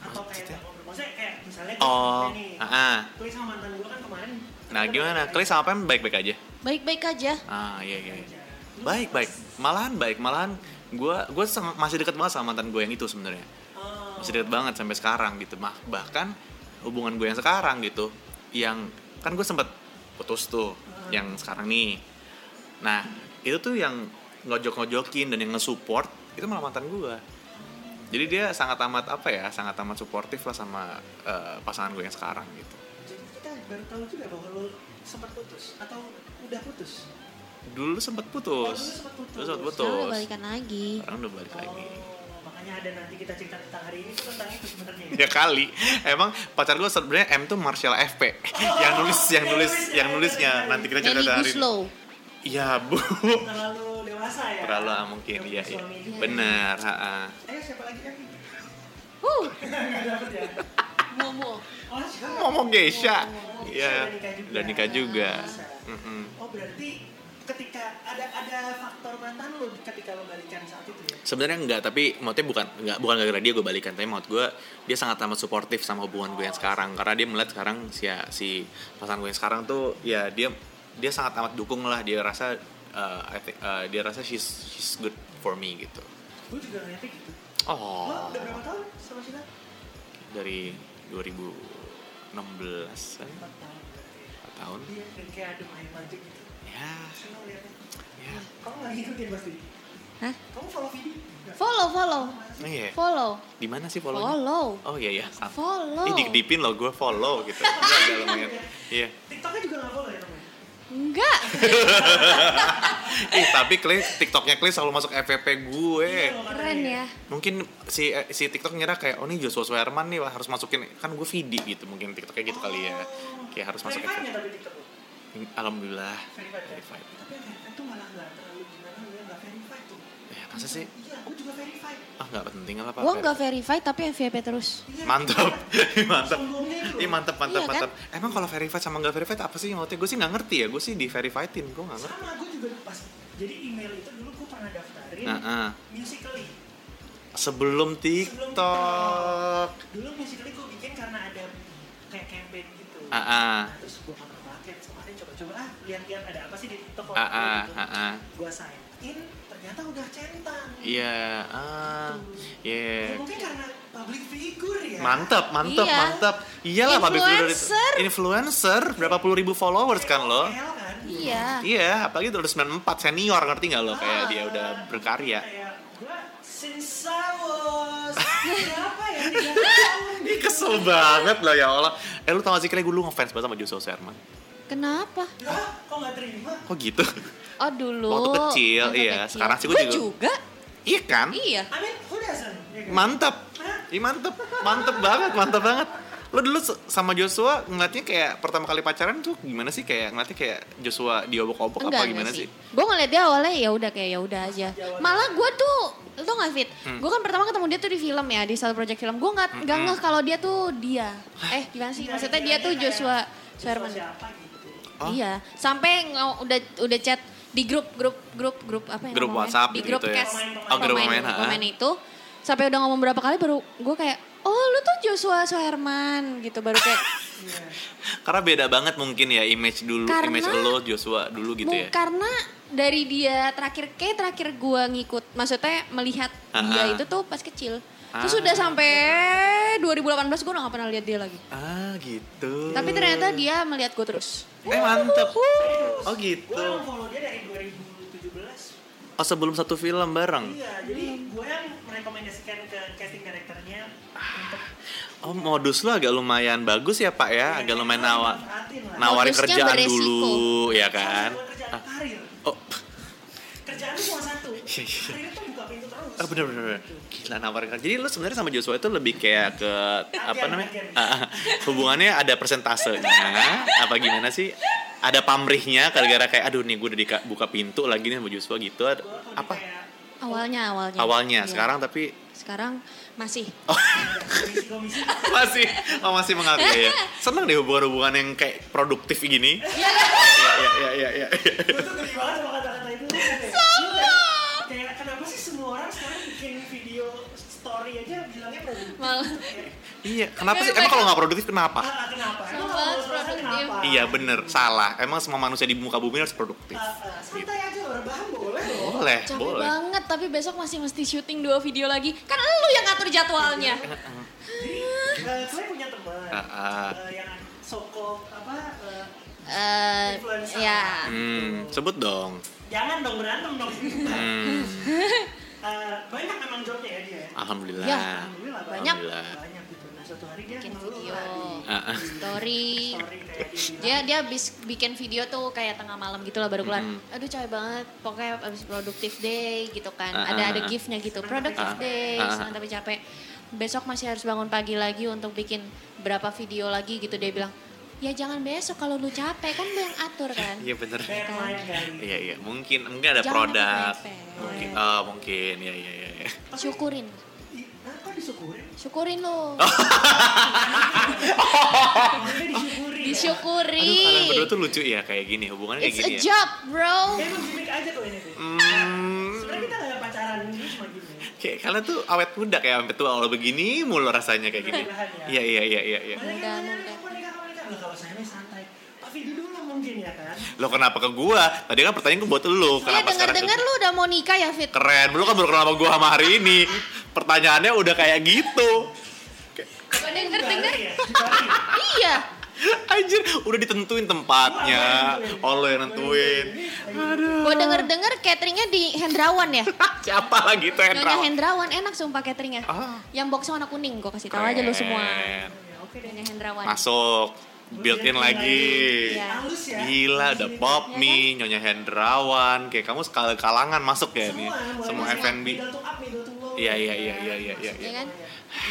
A: Atau kayak
C: Maksudnya?
A: nggak ngobrol? Maksudnya kayak misalnya gue
C: Oh,
A: nih
C: ah.
A: Gue sama mantan gue kan kemarin
C: Nah,
A: kita
C: gimana?
A: baik-baik
C: Kali sama Pem baik-baik aja?
B: Baik-baik aja.
C: Ah, iya iya. iya.
A: aja. Lu
C: baik baik malahan baik malahan gue gue masih deket banget sama mantan gue yang itu sebenarnya
A: Oh.
C: masih deket banget sampai sekarang gitu mah bahkan hubungan gue yang sekarang gitu yang kan gue sempet putus tuh yang sekarang nih nah itu tuh yang ngojok-ngojokin dan yang nge-support itu malah mantan gue jadi dia sangat amat apa ya sangat amat suportif lah sama eh, pasangan gue yang sekarang gitu
A: Jadi kita baru tahu juga bahwa lo sempat putus atau udah putus.
C: dulu sempet
A: Oh, dulu
C: putus
A: sempet
C: dulu sempet
A: putus.
C: putus
B: Sekarang udah balikan lagi.
C: sekarang udah balik lagi
A: Oh, makanya ada nanti kita cerita tentang hari ini itu tentang itu sebenarnya.
C: ya kali emang pacar gue sebenarnya M tuh Marcella FP yang nulis yang nulis yang nulisnya nanti kita cerita
B: Melly
C: dari
B: Guslow.
C: iya bu
A: Terlalu dewasa ya.
C: terlalu ah, mungkin
A: Yang
C: iya iya
A: suami dia.
C: benar ha, ha.
A: Ayo siapa lagi yang
B: Huh,
A: nggak dapet ya?
B: Momo.
A: Oh, siapa?
C: ngomong Geisha
A: Oh,
C: iya
A: Geisha
C: udah nikah Hmm. juga
A: Geisha.
C: Mm-mm.
A: Oh berarti ketika ada ada faktor mantan lo ketika lo balikan saat itu ya?
C: sebenarnya enggak tapi maksudnya bukan enggak bukan gara-gara dia gue balikan tapi maksud gue dia sangat amat suportif sama hubungan gue yang sekarang karena dia melihat sekarang si si pasangan gue yang sekarang tuh ya dia dia sangat amat dukung lah dia rasa uh, I think, uh, dia rasa she's she's good for me gitu
A: Gue juga ngeliatnya gitu.
C: oh
A: Lo udah berapa tahun sama Sheila?
C: dari 2016 kan
A: Empat tahun. berarti.
C: 4 tahun
A: Dia dan kayak ada main magic gitu.
C: ya
A: Seneng liatnya.
C: ya
A: Kamu nggak ngikutin pasti.
B: Hah?
A: Kamu follow video?
B: Follow, follow.
C: oh iya
B: Follow.
C: di mana sih follow
B: Follow.
C: oh iya iya sama.
B: Follow.
C: Ih, dikdipin loh gue follow gitu. Gua agak lumayan. Iya.
A: TikToknya juga nggak follow ya kamu?
B: Enggak.
C: Eh, tapi Kli, TikToknya Kli selalu masuk FVP gue.
A: Iya, makanya.
B: Keren ya.
C: Mungkin si eh, si TikTok ngira kayak oh ini Joshua Suherman nih harus masukin kan gue Vidi gitu mungkin TikToknya gitu kali ya. Kayak harus masuk
A: Verified nggak
C: FVP.
A: Oh. tapi TikTok lo?
B: Oh, iya.
C: Alhamdulillah.
A: Verified ya?
C: Verified.
A: Tapi yang verified tuh malah nggak terlalu gimana, gue nggak verified tuh.
C: Ya, masa sih?
A: Iya, gue juga verified.
C: Ah, nggak penting apa apa.
B: Gue nggak verify tapi FVP terus.
A: Iya,
C: Mantap. mantap.
A: Sombongnya itu
C: Ih,
A: loh.
C: mantap, mantap,
B: Iya, kan?
C: mantap. Emang kalau verified sama nggak verified apa sih maksudnya? Gue sih nggak ngerti ya. Gue sih di verifiedin, gue nggak ngerti.
A: Sama, gue juga pas. Jadi email itu dulu gue pernah
B: Iya.
A: daftarin
C: Nah, ah.
A: musically.
C: sebelum
A: Sebelum
C: TikTok.
A: Dulu musically gue bikin karena ada kayak campaign gitu.
C: Ah, ah.
A: Nah, terus gue pernah pakai kemarin coba-coba ah lihat-lihat ada apa sih di TikTok
C: Ah,
B: Iya.
C: ah,
A: gitu.
C: ah, ah.
A: Gue sign in, ternyata udah centang.
C: Iya, ah,
A: Ya,
C: iya.
A: mungkin karena public figure ya.
C: Mantap, mantap,
B: Iya.
C: mantap. Iyalah public figure itu-
B: Influencer.
C: influencer berapa puluh ribu followers kan lo?
A: KOL kan?
B: Iya.
C: Iya, apalagi udah 94 senior ngerti nggak lo kayak
A: Ah.
C: dia udah berkarya.
A: Kayak gue since I was berapa ya? Tiga tahun.
C: Ih kesel banget lo ya Allah. Eh lu tau gak sih kira gue dulu ngefans banget sama Joshua Sherman.
B: Kenapa?
A: Lah, kok nggak terima?
C: Kok gitu?
B: Oh dulu.
C: Waktu kecil,
B: Waktu
C: iya. Sekarang sih gua
B: Gua
C: juga-
B: juga.
C: iya kan?
B: Iya.
A: I mean, who doesn't? Ya kan?
C: Mantap. Ih mantep, mantep banget, mantep banget. Lo dulu se- sama Joshua ngeliatnya kayak pertama kali pacaran tuh gimana sih kayak ngeliatnya kayak Joshua diobok-obok apa gimana sih?
B: Gue ngeliat dia awalnya ya udah kayak ya udah aja. Malah gue tuh lo tau gak fit?
C: Hmm.
B: Gue kan pertama ketemu dia tuh di film ya di satu project film. Gue nggak nggak ngeh kalau dia tuh dia. Eh gimana sih?
A: Iya,
B: Maksudnya
A: iya,
B: dia
A: iya,
B: tuh
A: kayak
B: Joshua
A: Joshua
B: Sherman.
A: Siapa gitu?
C: Oh.
B: Iya. Sampai nge- udah udah chat di grup grup grup grup apa ya?
C: Grup
B: namanya?
C: WhatsApp
B: di
C: gitu
B: grup
C: ya?
B: cast
A: Oh,
C: grup
B: pemain,
C: pemain, ha.
B: pemain itu sampai udah ngomong berapa kali baru gue kayak oh lu tuh Joshua Soherman gitu baru kayak
A: Iya.
C: Karena beda banget mungkin ya image dulu,
B: Karena-
C: image lo Joshua dulu gitu
B: Mu-
C: ya.
B: Karena dari dia terakhir kayak terakhir gua ngikut, maksudnya melihat dia
C: Ah.
B: itu tuh pas kecil.
C: Ah.
B: Terus udah sampai 2018 gua udah gak pernah lihat dia lagi.
C: Ah gitu.
B: Tapi ternyata dia melihat gua terus.
C: eh mantep.
A: Terus,
C: Oh gitu.
A: Gue follow dia dari 2017.
C: oh sebelum satu film bareng
A: Iya, jadi gue yang merekomendasikan ke casting directornya untuk
C: oh modus lo agak lumayan bagus ya pak ya agak lumayan nawa
A: Iya, Manfaatin lah.
C: nawarin
B: Modusnya
C: kerjaan
B: beresiko.
C: dulu ya kan
A: Bukan kerjaan karir.
C: oh
A: Kerjaan itu cuma satu.
C: Iya, iya.
A: Karir tuh buka pintu terus.
C: Ah bener bener bener. gila nawarin kerja. Jadi lu sebenarnya sama Joshua itu lebih kayak ke apa namanya?
A: agen.
C: Ah, ah. hubungannya ada persentasenya apa gimana sih? Ada pamrihnya gara-gara kayak aduh nih gue udah dika- buka pintu lagi nih sama Joshua gitu. Ada-
A: Gua lebih
C: Apa
A: kayak
B: Awalnya, awalnya.
C: awalnya
B: Iya.
C: sekarang Oh. tapi
B: Sekarang masih.
A: komisi-komisi.
C: masih oh, masih mengaku ya. Seneng deh hubungan-hubungan yang kayak produktif gini.
B: Iya
C: Iya iya iya iya. iya.
A: Gue tuh geli banget sama kata-kata itu. Sama. Kayak kenapa sih semua orang sekarang bikin video story aja bilangnya produktif?
B: Malah.
A: Kayak,
C: Iya, kenapa sih? Emang kalau nggak produktif kenapa?
A: Ah, kenapa? Emang
B: Sama
A: kalau
B: banget
A: lu merasa
B: produktif.
A: kenapa?
C: Iya bener, salah. Emang semua manusia di muka bumi harus produktif.
A: Ah, ah, santai aja loh, rebahan boleh loh.
C: Boleh,
B: Capek
C: Eh, boleh.
B: banget, tapi besok masih mesti syuting dua video lagi. Kan lu yang ngatur jadwalnya.
A: Jadi, eh, saya punya teman
C: Ah,
A: eh,
C: ah.
A: yang soko apa? eh,
B: Eh,
A: Influencer.
B: ya.
C: Hmm, sebut dong.
A: jangan dong berantem dong.
C: Hmm,
A: Eh, banyak memang jobnya ya dia.
C: alhamdulillah.
B: Ya,
A: Alhamdulillah
B: Banyak.
C: Alhamdulillah.
A: Banyak gitu. Nah suatu hari dia
B: Bikin
A: ngeluh
B: video.
A: lah di
C: Ah, ah.
B: Story.
A: story kayak dia bilang,
B: Dia dia habis bikin video tuh kayak tengah malam gitu lah baru keluar.
C: Mhm.
B: Aduh capek banget, pokoknya habis productive day gitu kan.
C: Ah,
B: ada
C: ah,
B: ada
C: ah.
B: giftnya gitu. Productive
C: Ah,
B: day,
C: ah, ah.
B: senang tapi capek. Besok masih harus bangun pagi lagi untuk bikin berapa video lagi gitu dia bilang. Ya jangan besok kalau lu capek kan lu yang atur kan.
C: Iya bener.
A: Fair mind kali.
C: Iya iya, mungkin mungkin ada
B: Jangan
C: produk.
B: pakai iPad.
C: Mungkin oh, mungkin ya ya ya. ya.
B: Syukurin.
A: Ih, Nah, kok disyukurin?
B: Syukurin lu.
C: Oh.
A: Maksudnya disyukuri. ya?
C: Aduh, kalian berdua
B: Disyukuri.
C: tuh lucu ya kayak gini, hubungannya kayak
B: It's
C: gini
B: a
C: ya.
B: job, bro.
A: Kayak emang gimmick aja tuh ini. tuh.
C: Hmm,
A: Sebenarnya kita nggak ada pacaran ini cuma gini.
C: kayak kalian tuh awet muda kayak sampai tua kalau begini mulu rasanya kayak gini.
A: Mudah-mudahan ya.
C: Iya iya iya iya. iya.
A: Banyak
B: Mudah,
A: yang nanya,
B: mudah.
A: kamu nikah, kamu nikah. Loh, kalau saya mah santai. Pak Vidi dulu mungkin ya kan?
C: Lo kenapa ke gua? Tadi kan pertanyaan gua buat lu.
B: Ya
C: Kenapa sekarang ke
B: denger-denger lu udah mau nikah ya, Fit?
C: Keren, lu kan baru kenal sama gua sama hari ini. Pertanyaannya udah kayak gitu.
B: Denger-denger.
A: Dibalik ya, dibalik.
B: Iya.
C: Anjir, udah ditentuin tempatnya. Oh, lo yang nentuin.
B: Gue denger-denger cateringnya di Hendrawan ya.
C: Siapa lagi tuh
B: Nyonya
C: Hendra?
B: Hendrawan enak sumpah cateringnya.
C: Ah.
B: Yang boxnya warna kuning gue kasih tahu aja lu semua.
C: Keren.
A: Ya, Oke deh.
B: Nyonya Hendrawan.
C: Masuk, built-in lagi.
B: Iya.
A: Halus ya.
C: Gila, ada pop mie, Nyonya Hendrawan. Kayak kamu sekali kalangan masuk ya nih. Semua
A: F&B.
C: F&B. Iya, iya, iya, iya, iya, iya.
B: Iya
C: iya.
B: kan?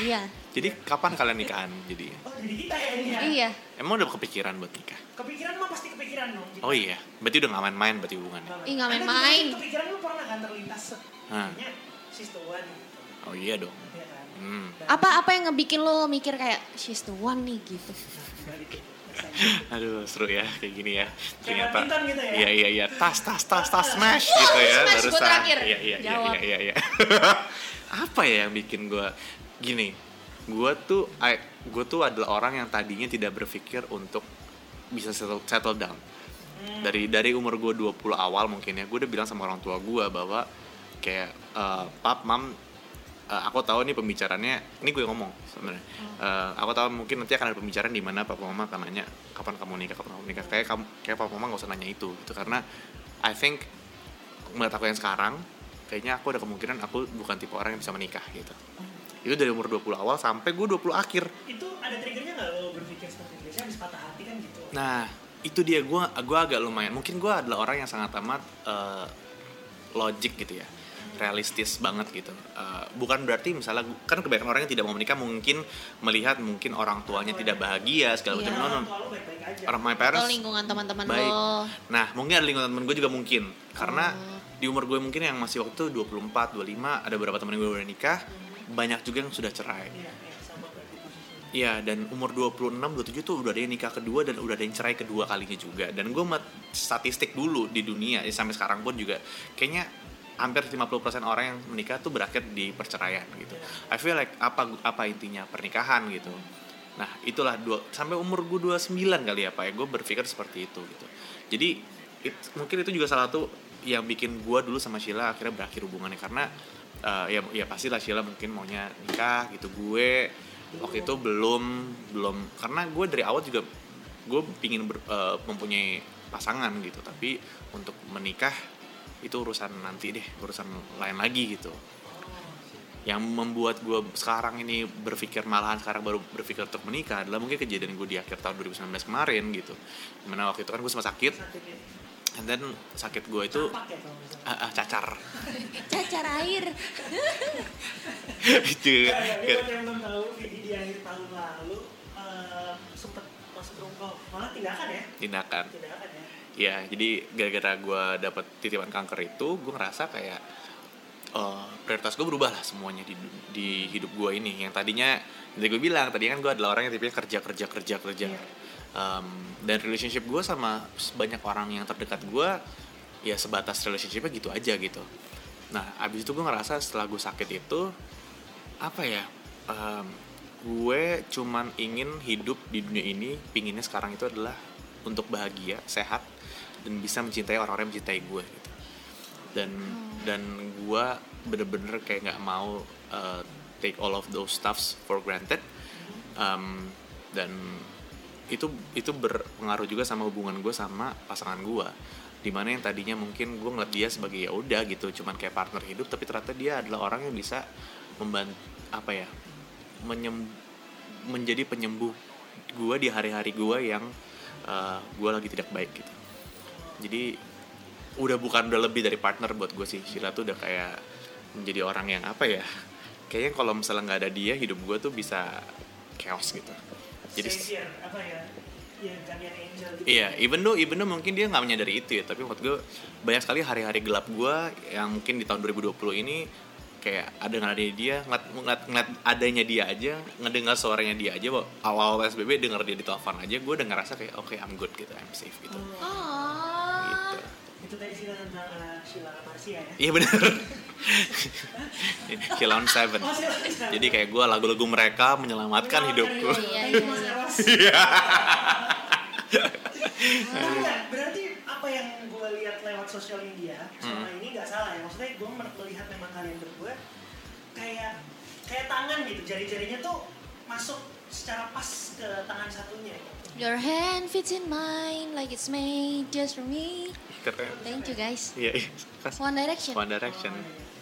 B: Iya.
C: Jadi kapan kalian nikahan? Jadi
A: Oh, jadi kita ya ini ya.
B: Iya.
C: emang udah kepikiran buat nikah?
A: Kepikiran mah pasti kepikiran dong. Gitu.
C: Oh iya, berarti udah gak main-main berarti hubungannya.
B: Ih, nggak
A: Ada juga
B: main-main.
A: sih Kepikiran lu pernah kan terlintas.
C: Hah.
A: Kayaknya she's the one gitu.
C: Oh iya dong.
A: Ya kan?
C: Hmm.
B: Apa apa yang ngebikin lo mikir kayak she's the one nih gitu.
A: Balik gitu.
C: Aduh seru ya kayak gini ya.
A: Kayak
C: Ternyata.
A: badminton gitu ya.
C: Iya iya iya. Tas tas tas tas smash gitu ya.
B: smash, gua
C: barusan.
B: terakhir.
C: Iya iya iya
B: Jawab.
C: iya iya. iya. Apa ya yang bikin gue gini? Gue tuh gue tuh adalah orang yang tadinya tidak berpikir untuk bisa settle, settle down.
B: Hmm.
C: Dari dari umur gue 20 awal mungkin ya, gue udah bilang sama orang tua gue bahwa kayak eh, pap mam eh, aku tahu nih pembicaranya ini gue yang ngomong sebenarnya
B: Hmm.
C: Eh, aku tahu mungkin nanti akan ada pembicaraan di mana papa mama akan nanya kapan kamu nikah kapan kamu nikah kayak kamu kayak papa mama nggak usah nanya itu gitu karena I think melihat aku yang sekarang kayaknya aku ada kemungkinan aku bukan tipe orang yang bisa menikah gitu itu dari umur 20 awal sampai gue 20 akhir
A: Itu ada triggernya nggak lo berpikir seperti itu? Biasanya habis patah hati kan gitu.
C: Nah, itu dia gua gua agak lumayan. Mungkin gua adalah orang yang sangat amat eh, logik gitu ya. Realistis banget gitu. Eh, bukan berarti misalnya gua- kan kebanyakan orang yang tidak mau menikah mungkin melihat mungkin orang tuanya tidak bahagia segala macam.
B: Iya.
C: No, no.
A: Orang tua lo baik-baik aja.
C: Orang my
B: Atau
C: parents
B: lingkungan teman-teman
C: baik.
B: lo.
C: Nah, mungkin ada lingkungan temen gue juga mungkin. Karena
B: Oh.
C: di umur gue mungkin yang masih waktu 24, 25, ada beberapa temen gue udah nikah, banyak juga yang sudah cerai.
A: Iya, iya, sama berarti posisinya.
C: Iya dan umur 26 27 tuh udah ada yang nikah kedua dan udah ada yang cerai kedua kalinya juga. Dan gue statistik dulu di dunia ya, sampai sekarang pun juga kayaknya hampir 50% orang yang menikah tuh berakhir di perceraian gitu. I feel like apa apa intinya pernikahan gitu. Nah, itulah dua sampai umur gue 29 kali ya Pak ya gue berpikir seperti itu gitu. Jadi it- mungkin itu juga salah satu yang bikin gue dulu sama Sheila akhirnya berakhir hubungannya karena eh, ya ya pastilah Sheila mungkin maunya nikah gitu gue waktu itu belum belum karena gue dari awal juga gue pingin ber- eh, mempunyai pasangan gitu tapi untuk menikah itu urusan nanti deh urusan lain lagi gitu yang membuat gue sekarang ini berpikir malahan sekarang baru berpikir untuk menikah adalah mungkin kejadian gue di akhir tahun 2019 kemarin gitu dimana waktu itu kan gue sempat sakit
A: Sakit ya.
C: and then sakit gue itu
A: Pak ya kalau misalnya.
C: ah, ah, cacar
B: Cacar air.
C: Gitu. Itu.
A: Nah, ini buat yang belum tahu, Vidi di akhir tahun lalu eh, sempet masuk rungkol. Malah tindakan ya.
C: tindakan
A: Tindakan ya.
C: ya jadi gara-gara gue dapet titipan kanker itu gue ngerasa kayak eh, prioritas gue berubah lah semuanya di di hidup gue ini yang tadinya tadi gue bilang tadi kan gue adalah orang yang tipenya kerja kerja kerja kerja
A: Iya.
C: Em, dan relationship gue sama banyak orang yang terdekat gue ya sebatas relationshipnya gitu aja gitu nah abis itu gue ngerasa setelah gue sakit itu apa ya em, gue cuman ingin hidup di dunia ini pinginnya sekarang itu adalah untuk bahagia sehat dan bisa mencintai orang-orang yang mencintai gue gitu dan dan gue bener-bener kayak nggak mau uh, take all of those stuffs for granted Um, dan itu itu berpengaruh juga sama hubungan gue sama pasangan gue dimana yang tadinya mungkin gue ngeliat dia sebagai ya udah gitu cuman kayak partner hidup tapi ternyata dia adalah orang yang bisa membantu apa ya menyem- menjadi penyembuh gue di hari-hari gue yang uh, gue lagi tidak baik gitu jadi udah bukan udah lebih dari partner buat gue sih Sheila tuh udah kayak menjadi orang yang apa ya kayaknya kalau misalnya nggak ada dia hidup gue tuh bisa chaos gitu jadi
A: Savior, apa ya? Ya, guardian angel gitu.
C: iya even though even though mungkin dia nggak menyadari itu ya tapi menurut gue banyak sekali hari-hari gelap gue yang mungkin di tahun 2020 ini kayak ada nggak ada dia ngeliat, ngeliat, ngeliat adanya dia aja ngedengar suaranya dia aja awal awal psbb denger dia di telepon aja gue udah ngerasa kayak oke I'm good gitu I'm safe gitu
A: Oh,
B: Oh.
C: gitu
A: itu tadi sih tentang uh, Sheila Marcia ya.
C: Iya bener Kill on Seven
A: Oh, Sheila Marcia.
C: Jadi kayak gue lagu-lagu mereka menyelamatkan hidupku
B: Iya,
A: Thank
B: iya,
A: you, Mas
B: iya.
A: Eros. Tapi nggak, Nah, kan berarti apa yang gue lihat lewat sosial media selama
C: Hmm.
A: ini nggak salah ya. Maksudnya gue melihat memang kalian berdua kayak kayak tangan gitu, jari-jarinya tuh masuk secara pas ke tangan satunya.
B: Your hand fits in mine like it's made just for me.
C: Keren
B: Thank you guys.
C: Iya iya Kas-
B: One Direction.
C: One
A: Oh,
C: Direction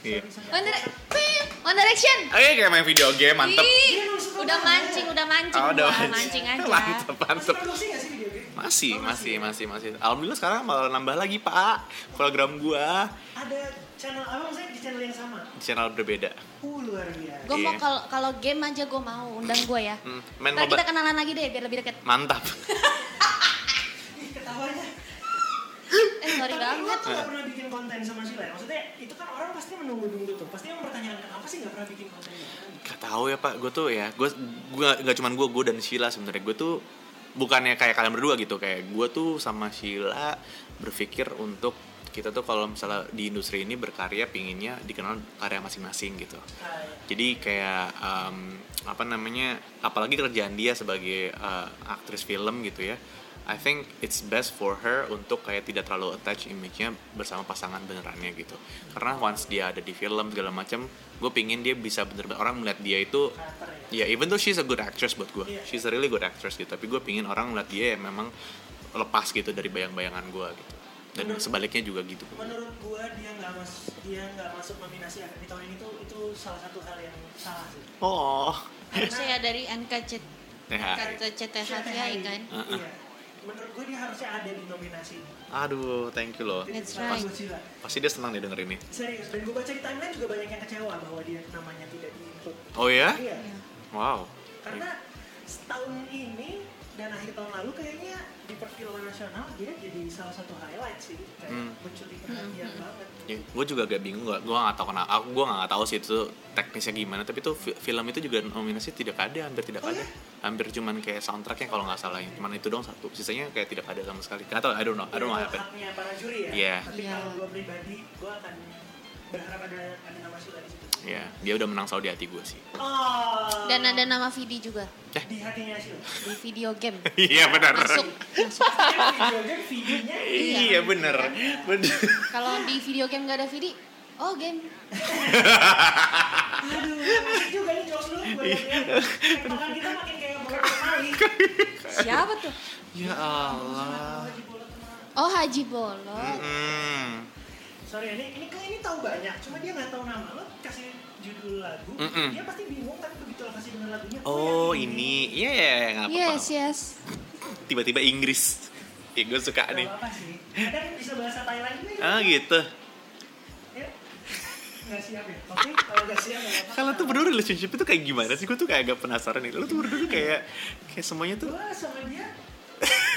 C: Iya
B: One, dire- Pim, One Direction.
C: Oke kayak main video game mantep
B: Ih,
A: Dia nulis apa
B: udah
A: namanya?
B: mancing, udah mancing,
C: Oh, udah
B: gua, mancing aja.
C: Mantep mantep
A: Masih produksi kan nggak sih video game?
C: masih,
A: Oh,
C: masih, masih, masih. Alhamdulillah sekarang malah nambah lagi pak program gua
A: Ada channel apa maksudnya di channel yang sama?
C: di channel berbeda.
A: Uh luar biasa.
B: Gue mau
C: Iya.
B: kalau kalau game aja gue mau undang gue ya.
C: Hmm, main
B: Ntar kita
C: MOBA
B: kenalan lagi deh biar lebih deket.
C: mantap.
A: Ih, ketawanya.
B: Eh sorry
A: Tapi lo
B: banget.
A: tuh gak pernah bikin konten sama Sheila ya? Maksudnya itu kan orang pasti menunggu-nunggu tuh Pasti yang mempertanyakan kenapa sih gak pernah bikin konten Kan
C: Gak tahu ya pak, gue tuh ya, gue gua, gak cuman gue, gue dan Sheila sebenarnya gue tuh bukannya kayak kalian berdua gitu, kayak gue tuh sama Sheila berpikir untuk kita tuh kalau misalnya di industri ini berkarya pinginnya dikenal karya masing-masing gitu. Jadi kayak em, apa namanya, apalagi kerjaan dia sebagai eh, aktris film gitu ya. I think it's best for her untuk kayak tidak terlalu attach image-nya bersama pasangan benerannya gitu. Karena once dia ada di film segala macam, gue pingin dia bisa bener-bener orang melihat dia itu
A: Karakter ya?
C: Ya, even though she's a good actress buat gue,
A: Iya.
C: she's a really good actress gitu. Tapi gue pingin orang ngeliat dia yang memang lepas gitu dari bayang-bayangan gue gitu. Dan
A: Menurut-
C: sebaliknya juga gitu.
A: Menurut gua dia gak, mas, dia gak masuk nominasi di tahun ini tuh Itu salah satu hal yang salah sih
C: Oh,
B: Harusnya ya dari NKCT
C: ya.
B: NKCTHI kan.
C: Uh-uh.
A: Iya Menurut gue dia harusnya ada di nominasi
C: Aduh, thank you loh.
B: That's
A: Bagus,
B: right.
A: Sheila.
C: Pasti dia senang nih dengerin ini.
A: Serius, dan gue baca di timeline juga banyak yang kecewa bahwa dia namanya tidak diinput
C: Oh ya?
A: Iya
C: Wow.
A: Karena setahun ini dan akhir tahun lalu kayaknya di perfilman nasional dia jadi salah satu highlight sih kayak
C: Hmm.
A: muncul di perhatian banget.
C: gue juga agak bingung gue gue nggak tahu kenapa gue nggak tahu sih itu teknisnya gimana tapi tuh fi- film itu juga nominasi tidak ada hampir tidak
A: Oh,
C: ada
A: ya?
C: hampir cuman kayak soundtracknya kalau nggak salah ya. cuman itu dong satu sisanya kayak tidak ada sama sekali nggak tahu I don't know I don't know what
A: Itu
C: happened
A: Haknya para juri ya.
C: Iya.
A: Tapi
B: Iya.
A: kalau gue pribadi gue akan berharap ada ada nama Sheila di situ.
C: ya dia udah menang saudi hati gue sih
A: Oh.
B: Dan ada nama Vidi juga
C: Eh.
A: di hatinya Sheila.
B: di video game.
C: iya benar
B: Masuk. Masuk.
A: Dia video videonya
C: iya benar benar
B: Kalau di video game gak ada Vidi, oh game.
A: Aduh, asik juga nih jokes lu. Gue
C: Iya.
A: liat-liat. Makan kita makin kayak bola kali.
B: Siapa tuh?
C: ya Allah Hmm,
B: Oh Haji Bolot.
C: Mm.
A: sorry ini ini kayak ini tahu banyak cuma dia nggak tahu nama lo kasih judul lagu
C: Mm-mm.
A: dia pasti bingung tapi begitu lo kasih dengar lagunya iya,
C: Oh
A: yang
C: ini, ya ya ya, nggak apa-apa.
B: Yes, yes.
C: Tiba-tiba Inggris, ya, gue suka
A: Gak
C: nih.
A: apa-apa sih kadang bisa bahasa Thailand juga
C: Ah gitu.
A: ya nggak siap ya oke kalau nggak siap nggak apa-apa
C: Kalau tuh berdua relationship itu kayak gimana sih? Gue tuh kayak agak penasaran nih. Lu tuh berdua tuh kayak kayak semuanya tuh
A: gue sama dia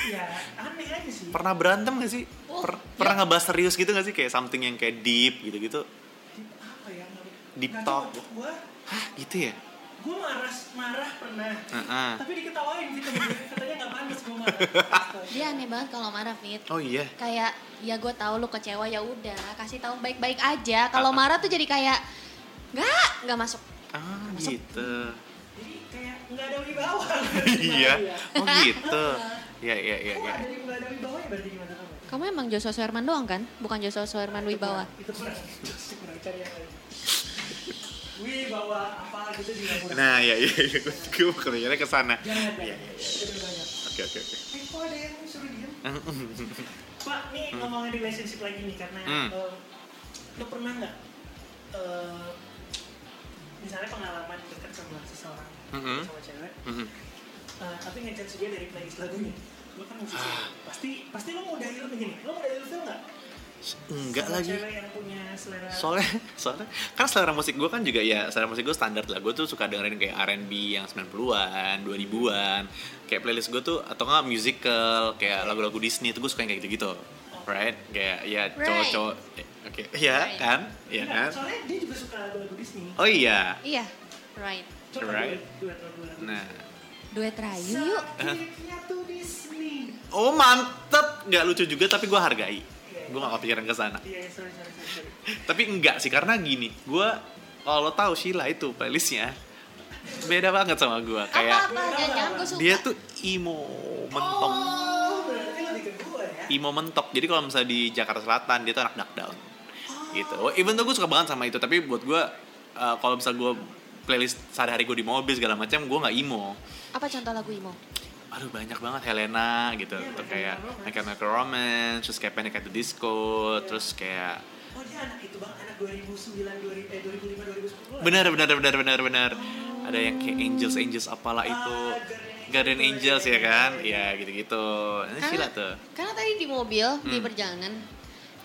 A: ya aneh aja sih
C: pernah berantem gak sih? Per- pernah ngebahas serius gitu gak sih? Kayak something yang kayak deep gitu-gitu.
A: Di- apa ya nggak-
C: Deep
A: nggak
C: talk.
A: cocok gue
C: Hah gitu ya?
A: gue marah marah pernah
C: Heeh.
A: tapi diketawain gitu katanya nggak pantas gue marah Astaga.
B: Dia aneh banget kalau marah, Fit.
C: Oh iya.
B: Kayak ya gue tahu lu kecewa ya udah, kasih tahu baik-baik aja. Kalau marah tuh jadi kayak nggak, nggak masuk.
C: Ah gitu.
A: jadi kayak nggak ada wibawa
C: iya.
A: Iya.
C: Oh gitu. Iya iya iya.
A: Kok
C: iya.
A: ada yang nggak ada wibawa ya berarti gimana kamu
B: Kamu emang Joshua Suherman doang kan? Bukan Joshua Suherman Wibawa.
A: itu kurang itu kurang cari yang lain wibawa apa gitu juga kurang
C: Nah iya iya. iya. Gue kepikirannya ke sana.
A: jangan
C: Iya
A: banyak
C: iya iya.
A: itu banyak
C: Oke oke oke.
A: eh kok ada yang suruh diem Pak, nih ngomongin relationship lagi nih karena
C: Hmm.
A: eh, lo pernah nggak eh, misalnya pengalaman dekat sama seseorang
C: Mm-mm.
A: sama cewek,
C: Mm-mm.
A: eh, tapi ngejudge dia dari playlist lagunya. Lo kan musisi,
C: Ah.
A: pasti pasti lo mudah ilfil gini, lo mudah ilfil nggak?
C: Enggak
A: Sama
C: lagi.
A: Cewek yang punya selera.
C: soalnya soalnya kan selera musik gue kan juga ya selera musik gue standar lah gue tuh suka dengerin kayak R&B yang 90-an 2000-an kayak playlist gue tuh atau nggak musical kayak lagu-lagu Disney tuh gue suka yang kayak gitu-gitu right kayak ya cowok-cowok eh, oke ya
B: Right.
C: kan ya
A: Nggak,
C: kan
A: Soalnya dia juga suka lagu-lagu Disney.
C: oh iya
B: Iya, right.
A: Coba duet,
C: Right.
A: duet lagu-lagu
C: nah Eh.
B: Duet
A: Disney.
B: Rayu yuk.
A: Sakitnya tuh Disney.
C: oh mantep nggak lucu juga tapi gue hargai gue gak kepikiran ke sana
A: Iya, sorry, sorry, sorry. sorry.
C: tapi enggak sih karena gini gue kalau lo tahu Sheila itu playlistnya beda banget sama gue kayak
B: Apa-apa, jangan-jangan gue suka.
C: dia tuh emo mentok
A: Oh, berarti lebih ke gue ya.
C: emo mentok jadi kalau misalnya di Jakarta Selatan dia tuh anak duck down gitu even tuh gue suka banget sama itu tapi buat gue eh, kalau misalnya gue playlist sehari-hari gue di mobil segala macam gue nggak emo
B: Apa contoh lagu Imo?
C: aduh banyak banget Helena gitu
A: Iya, My
C: Tuh kayak
A: Chemical Romance.
C: My Chemical Romance terus kayak Panic at the Disco terus kayak
A: Oh dia anak itu bang, anak 2009, 2000, eh, 2005, 2010 lah.
C: benar benar benar benar benar ada yang kayak Angels Angels apalah itu
A: Ah, Guardian
C: Garden Angels
A: Angels.
C: ya kan ya gitu-gitu ini Sheila tuh
B: karena tadi di mobil di
C: Hmm.
B: perjalanan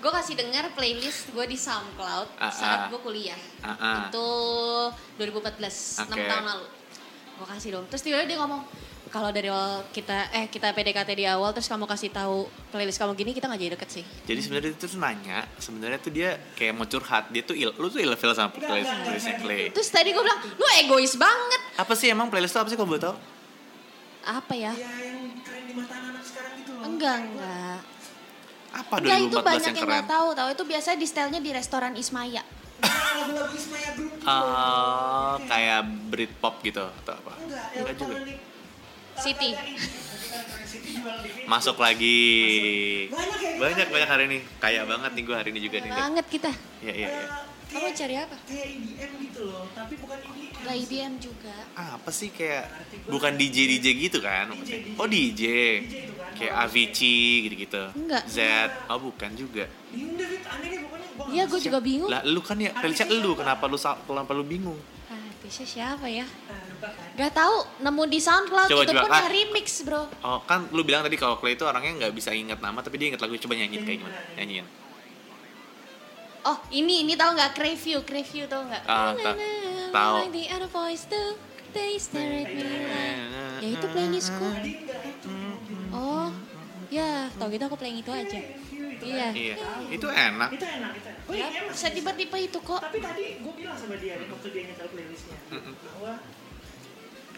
B: gue kasih dengar playlist gue di SoundCloud
C: Ah,
B: saat
C: ah.
B: gue kuliah
C: Ah, ah.
B: itu 2014 enam
C: Oke.
B: tahun lalu gue kasih dong terus tiba-tiba dia ngomong kalau dari awal kita eh kita PDKT di awal terus kamu kasih tahu playlist kamu gini kita nggak jadi deket sih
C: Jadi sebenarnya itu tuh nanya, sebenarnya tuh dia kayak mau curhat, dia tuh il, lu tuh ilfil sama
A: Enggak,
C: playlist
A: enggak,
C: playlistnya
A: enggak,
C: Clay.
B: terus tadi gue bilang lu egois banget
C: Apa sih emang playlist tuh apa sih kalau boleh tau?
B: apa ya
A: Ya yang keren di mata anak sekarang gitu loh.
B: enggak enggak
C: Apa
B: enggak itu banyak
C: 2014 yang
B: yang
C: keren?
B: nggak tahu tahu itu biasanya di stylenya di restoran Ismaya
A: Nah, lagu-lagu Ismaya Group gitu.
C: Oh, kayak Britpop gitu atau apa?
A: Enggak,
C: Enggak juga.
A: elektronik.
B: City.
A: Ada ini, ada City jual di Facebook.
C: Masuk iya, lagi.
A: Banyak ya,
C: Banyak
A: kita.
C: banyak hari ini. Kaya banget nih gue hari ini juga nih. Dek.
B: banget kita
C: Iya iya iya.
A: Eh, Kayak-
B: Kamu cari apa?
A: Kayak EDM gitu loh, tapi bukan EDM.
B: lah E IDM juga
C: Apa sih kayak bukan DJ DJ gitu kan?
A: DJ, DJ.
C: Oh DJ.
A: DJ itu kan,
C: Kayak
A: orang
C: Avicii gitu-gitu.
B: Enggak.
C: Z. Oh bukan juga.
A: Bingung deh, Fit. aneh deh pokoknya. Gua
B: Iya, gue juga bingung.
C: Lah lu kan ya playlistnya
A: Avicii
C: lu
A: siapa?
C: kenapa lu sa- kenapa lu bingung?
B: Ah, Tisha siapa ya?
A: Nah, lupa kan.
B: Gak tahu, nemu di SoundCloud
C: Coba,
B: itu
C: coba,
B: pun
C: ah.
B: yang remix, Bro.
C: Oh kan lu bilang tadi kalau Clay itu orangnya nggak bisa ingat nama tapi dia ingat lagu coba nyanyiin kayak gimana nyanyiin
B: Oh, ini ini tahu nggak Crave You, Crave You tahu nggak?
C: Ah,
B: Na, na,
C: ta-
B: na,
C: tahu.
B: like the other boys do, they stare at me like- Ya itu playlistku.
A: Tadi enggak itu.
B: Oh, ya, tau gitu aku playing itu aja.
A: Itu kan.
B: Iya.
C: iya itu enak
A: Itu enak, itu enak. Oh,
B: Ya,
A: EDM
B: bisa
A: masih
B: tiba-tiba itu kok.
A: tapi tadi gue bilang sama dia nih, waktu dia nyetel playlistnya bahwa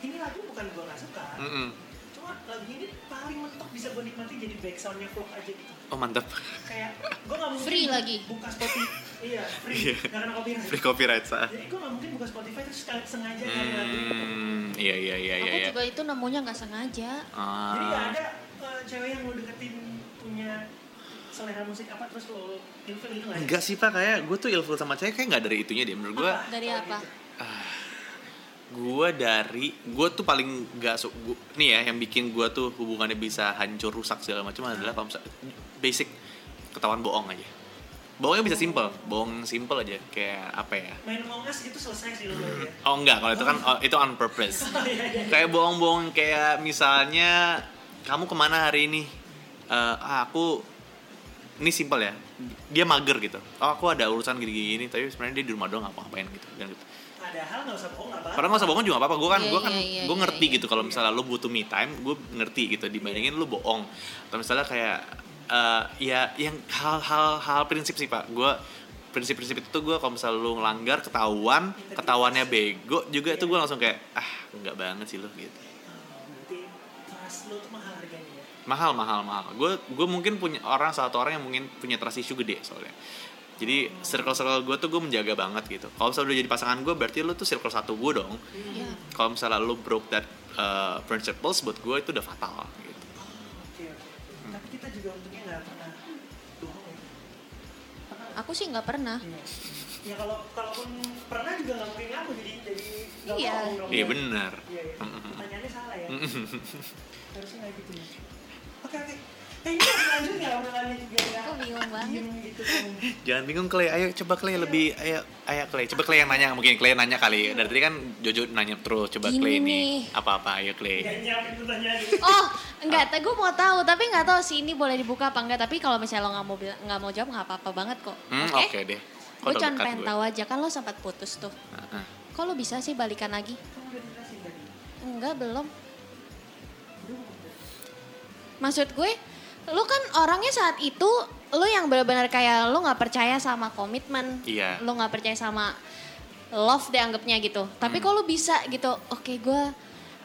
A: ini lagu bukan gue gak suka
C: Mm-mm.
A: cuma lagu ini paling mentok bisa gue nikmati jadi back soundnya vlog aja gitu
C: oh mantap
A: kayak gue gak mungkin
B: Free lagi.
A: buka Spotify iya
C: Iya.
A: free gak kena copyright
C: free copyright saat
A: jadi gue gak mungkin buka Spotify terus sekali- sengaja nyari lagu gitu.
C: hmm iya iya iya iya
B: Aku
C: iya
B: juga itu nemunya nggak sengaja.
C: Ah.
A: jadi gak ada eh, cewek yang lo deketin punya selera musik apa terus lo infil gitu gak ada?
C: enggak sih pak kayak gue tuh ilful sama cewek kayak nggak dari itunya deh menurut gue
B: Dari
A: Oh,
B: apa?
A: gitu.
C: gue dari gue tuh paling nggak su- gu- nih ya yang bikin gue tuh hubungannya bisa hancur rusak segala macam adalah kalau misal- basic ketahuan bohong aja bohongnya bisa simple bohong simple aja kayak apa ya
A: main Among Us itu selesai sih lo ya.
C: oh enggak kalau itu kan oh, itu on purpose
A: Iya, iya, iya.
C: kayak bohong-bohong kayak misalnya kamu kemana hari ini Eh, ah, aku ini simpel ya dia mager gitu oh aku ada urusan gini-gini tapi sebenarnya dia di rumah doang nggak ngapain gitu dan gitu
A: Padahal nggak usah bohong nggak apa-apa.
C: Padahal nggak usah bohong juga gak apa-apa. Gue kan,
B: Iya,
C: gue kan,
B: iya, iya,
C: gue
B: iya,
C: ngerti
B: iya.
C: gitu. Kalau misalnya lo butuh me time, gue ngerti gitu. Dibandingin lo bohong. Atau misalnya kayak, eh, ya yang hal-hal hal prinsip sih pak. Gue prinsip-prinsip itu tuh gue kalau misalnya lo ngelanggar ketahuan, ketahuannya bego juga tuh gue langsung kayak, ah nggak banget sih lo gitu.
A: Oh, berarti trust lo tuh mahal harganya ya.
C: Mahal, mahal, mahal. Gue, gue mungkin punya orang satu orang yang mungkin punya trust issue gede soalnya. Jadi circle-circle gue tuh gue menjaga banget gitu. Kalau misalnya udah jadi pasangan gue, berarti lo tuh circle satu gue dong
B: Iya.
C: kalau misalnya lu broke that uh, principles buat gue itu udah fatal gitu
A: Hmm, Oke oke.
C: Hmm.
A: Tapi kita juga untungnya nggak pernah bohong ya. Pernah nggak?
B: Aku sih nggak pernah.
A: Iya. Ya kalau kalaupun pernah juga nggak mungkin ngaku jadi jadi nggak
B: Iya.
A: bohong dong.
C: iya
A: ya.
C: benar
A: Iya, iya. Pertanyaannya salah ya. Harusnya nggak gitu ya. Oke oke. Eh ini harus lanjut nggak obrolannya juga ya?
B: Aku bingung banget.
A: Diem gitu dong.
C: jangan bingung Clay ayo coba Clay lebih ayo ayo Clay coba Clay yang nanya mungkin Clay nanya kali dari tadi kan Jojo nanya terus coba
B: Gini
C: Clay nih
B: nih.
C: apa apa ayo Clay
A: Nggak nyiapin pertanyaan.
B: Oh,
C: Ah.
B: enggak, gue mau tahu, tapi nggak tahu sih ini boleh dibuka apa enggak. Tapi kalau misalnya lo nggak mau bila- nggak mau jawab nggak apa-apa banget kok.
C: hmm, oke deh
B: Gue cuma
C: dekat
B: pengen
C: gue.
B: tahu aja kan lo sempat putus tuh.
C: Heeh.
B: Kok lo bisa sih balikan lagi?
A: Kamu udah jelasin tadi.
B: Enggak, belum. Maksud gue, lo kan orangnya saat itu lo yang benar-benar kayak lo nggak percaya sama komitmen.
C: Iya.
B: Lo nggak percaya sama love deh anggapnya gitu.
C: Hmm.
B: Tapi kok lo bisa gitu, oke gue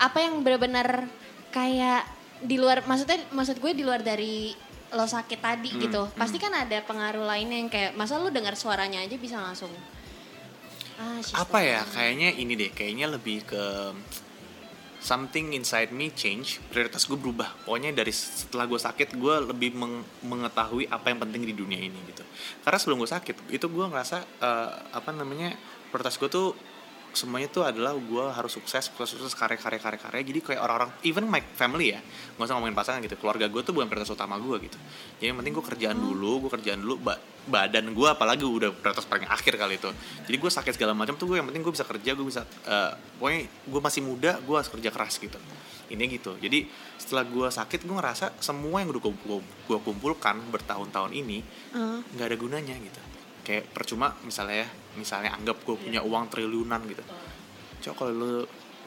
B: apa yang benar-benar kayak di luar, maksudnya maksud gue di luar dari lo sakit tadi
C: Hmm.
B: gitu. Pasti kan ada pengaruh lainnya yang kayak, masa lo dengar suaranya aja bisa langsung. Ah, she's
C: apa
B: the
C: ya
B: one.
C: kayaknya ini deh kayaknya lebih ke something inside me change prioritas gue berubah pokoknya dari setelah gue sakit gue lebih meng- mengetahui apa yang penting di dunia ini gitu karena sebelum gue sakit itu gue ngerasa eh, apa namanya prioritas gue tuh semuanya tuh adalah gue harus sukses sukses sukses karya karya karya karya jadi kayak orang-orang even my family ya nggak usah ngomongin pasangan gitu keluarga gue tuh bukan prioritas utama gue gitu jadi yang penting gue kerjaan dulu gue kerjaan dulu ba- badan gue apalagi udah prioritas paling akhir kali itu jadi gue sakit segala macam tuh gue yang penting gue bisa kerja gue bisa eh, pokoknya gue masih muda gue harus kerja keras gitu ini gitu jadi setelah gue sakit gue ngerasa semua yang udah gue, gue kumpulkan bertahun-tahun ini
B: Ah.
C: nggak ada gunanya gitu kayak percuma misalnya ya misalnya anggap gue punya uang triliunan gitu cok kalau lu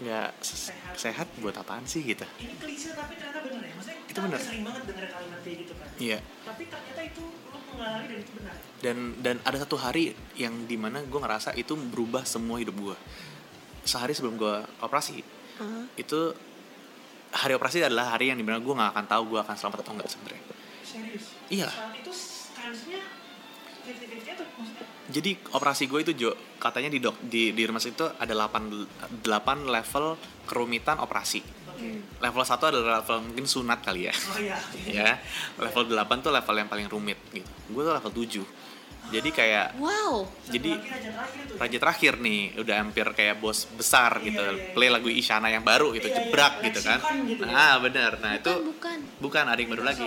C: nggak s-
A: Sehat.
C: sehat buat apaan sih gitu
A: Ini klise tapi ternyata bener ya. Maksudnya kita
C: Itu bener.
A: sering banget denger kalimat kayak gitu kan.
C: iya
A: Tapi ternyata itu lo mengalami dan itu benar.
C: dan dan ada satu hari yang dimana gue ngerasa itu berubah semua hidup gue sehari sebelum gue operasi
B: Ah.
C: itu hari operasi adalah hari yang dimana gue nggak akan tahu gue akan selamat atau enggak sebenarnya
A: Serius.
C: Iya.
A: Saat itu kansnya 50-50 atau maksudnya
C: Jadi operasi gue itu Jo, katanya di dok di di rumah sakit itu ada 8 8 level kerumitan operasi.
A: oke.
B: Hmm.
C: Level 1 adalah level mungkin sunat kali ya.
A: Oh iya.
C: ya. Level 8 tuh level yang paling rumit gitu. Gue tuh level 7. Jadi kayak
B: Wow.
A: Satu
C: jadi
A: lagi raja terakhir tuh.
C: raja terakhir nih udah hampir kayak bos besar
A: Iya,
C: gitu.
A: iya, iya.
C: Play lagu Isyana yang baru gitu,
A: Iya, iya,
C: jebrak gitu kan.
A: leksikon gitu ya.
C: Ah, bener. Nah, itu
B: Bukan, bukan.
C: bukan ada yang baru lagi.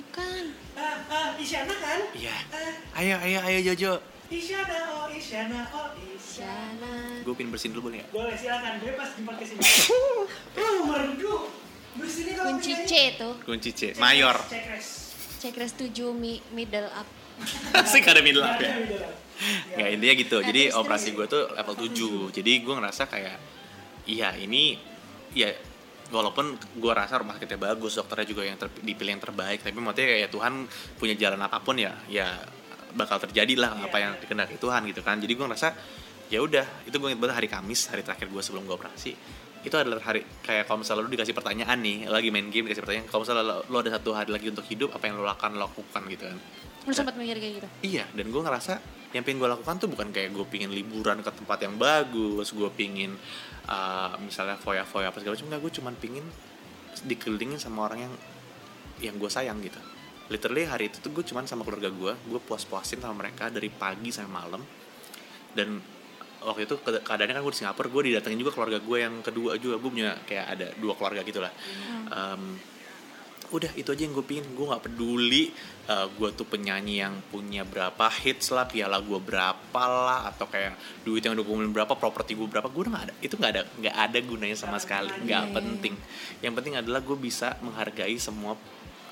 B: Bukan.
A: Ah, ah, Isyana kan?
C: Iya.
A: Ah,
C: Ayo, ayo, ayo Jojo.
A: Isyana, oh Isyana, oh Isyana.
C: Gue pin bersihin dulu boleh nggak?
A: Boleh silakan bebas di podcast ini. Lu merdu. Bersihin kalau
B: Kunci
A: penyanyi.
B: C itu.
C: Kunci C,
A: Check
C: mayor.
A: rest, Check rest.
B: Check rest 7 mi- middle up.
C: Asik ada middle up
A: Nggak
C: ya.
A: ada middle up. Iya.
C: Nggak intinya gitu.
B: Nah,
C: Jadi
B: terus,
C: operasi
B: terus.
C: gue tuh level 7. Jadi gue ngerasa kayak iya ini ya walaupun gue rasa rumah sakitnya bagus, dokternya juga yang ter- dipilih yang terbaik, tapi maksudnya kayak ya Tuhan punya jalan apapun ya, ya bakal terjadi lah apa
A: Iya,
C: yang
A: iya.
C: dikehendaki Tuhan gitu kan. Jadi gue ngerasa ya udah, itu gue inget banget hari Kamis, hari terakhir gue sebelum gue operasi itu adalah hari kayak kalau misalnya lu dikasih pertanyaan nih lagi main game dikasih pertanyaan kalau misalnya lo- lo ada satu hari lagi untuk hidup apa yang lo akan lakukan gitu kan
B: Lu sempat mikir kayak gitu.
C: Iya, dan gue ngerasa yang pengen gue lakukan tuh bukan kayak gue pingin liburan ke tempat yang bagus, gue pingin uh, misalnya foya-foya apa segala macam. Enggak, gue cuman pingin dikelilingin sama orang yang yang gue sayang gitu. Literally hari itu tuh gue cuman sama keluarga gue, gue puas-puasin sama mereka dari pagi sampai malam. Dan waktu itu ke- keadaannya kan gue di Singapura, gue didatengin juga keluarga gue yang kedua juga, gue punya kayak ada dua keluarga gitu lah. Um, udah itu aja yang gue pingin gue nggak peduli eh, gue tuh penyanyi yang punya berapa hits lah piala gue berapa lah atau kayak duit yang udah gue kumpulin berapa properti gue berapa gue udah nggak ada itu nggak ada nggak ada gunanya sama sekali Iya, nggak penting yang penting adalah gue bisa menghargai semua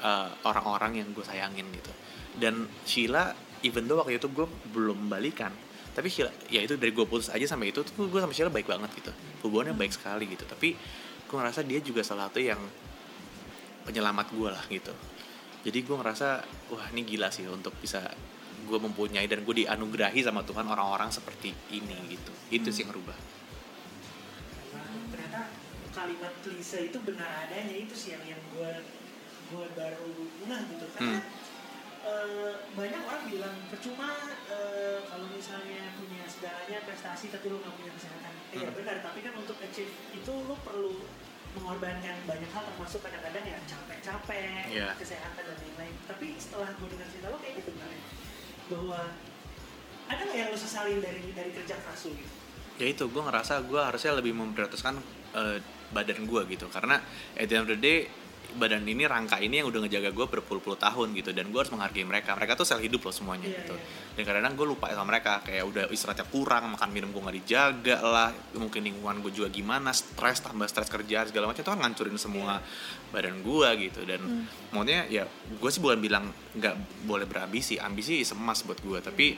C: eh, orang-orang yang gue sayangin gitu dan Sheila even though waktu itu gue belum balikan tapi Sheila ya itu dari gue putus aja sampai itu tuh gue sama Sheila baik banget gitu hubungannya baik sekali gitu tapi gue ngerasa dia juga salah satu yang penyelamat gue lah gitu jadi gue ngerasa wah ini gila sih untuk bisa gue mempunyai dan gue dianugerahi sama Tuhan orang-orang seperti ini gitu itu sih yang ngerubah
A: ternyata kalimat klise itu benar adanya itu sih yang yang gue gue baru ngeh gitu karena
C: Hmm.
A: eh, banyak orang bilang percuma eh, kalau misalnya punya segalanya prestasi tapi lu nggak punya kesehatan Eh, iya
C: Hmm.
A: benar tapi kan untuk achieve itu lu perlu mengorbankan banyak hal termasuk kadang-kadang ya capek-capek
C: Iya.
A: kesehatan dan lain-lain tapi setelah gue dengar cerita lo kayaknya benar ya, bahwa ada nggak yang lu sesalin dari dari kerja keras lu gitu
C: ya itu gue ngerasa gue harusnya lebih memprioritaskan eh, badan gue gitu karena at the end of the day badan ini rangka ini yang udah ngejaga gue berpuluh-puluh tahun gitu dan gue harus menghargai mereka mereka tuh sel hidup loh semuanya
A: Iya,
C: gitu
A: iya.
C: dan kadang-kadang gue lupa sama mereka kayak udah istirahatnya kurang makan minum gue nggak dijaga lah mungkin lingkungan gue juga gimana stres tambah stres kerjaan segala macam itu kan ngancurin semua
A: Iya.
C: badan gue gitu dan
A: Hmm.
C: maunya ya gue sih bukan bilang nggak boleh berambisi ambisi is emas buat gue tapi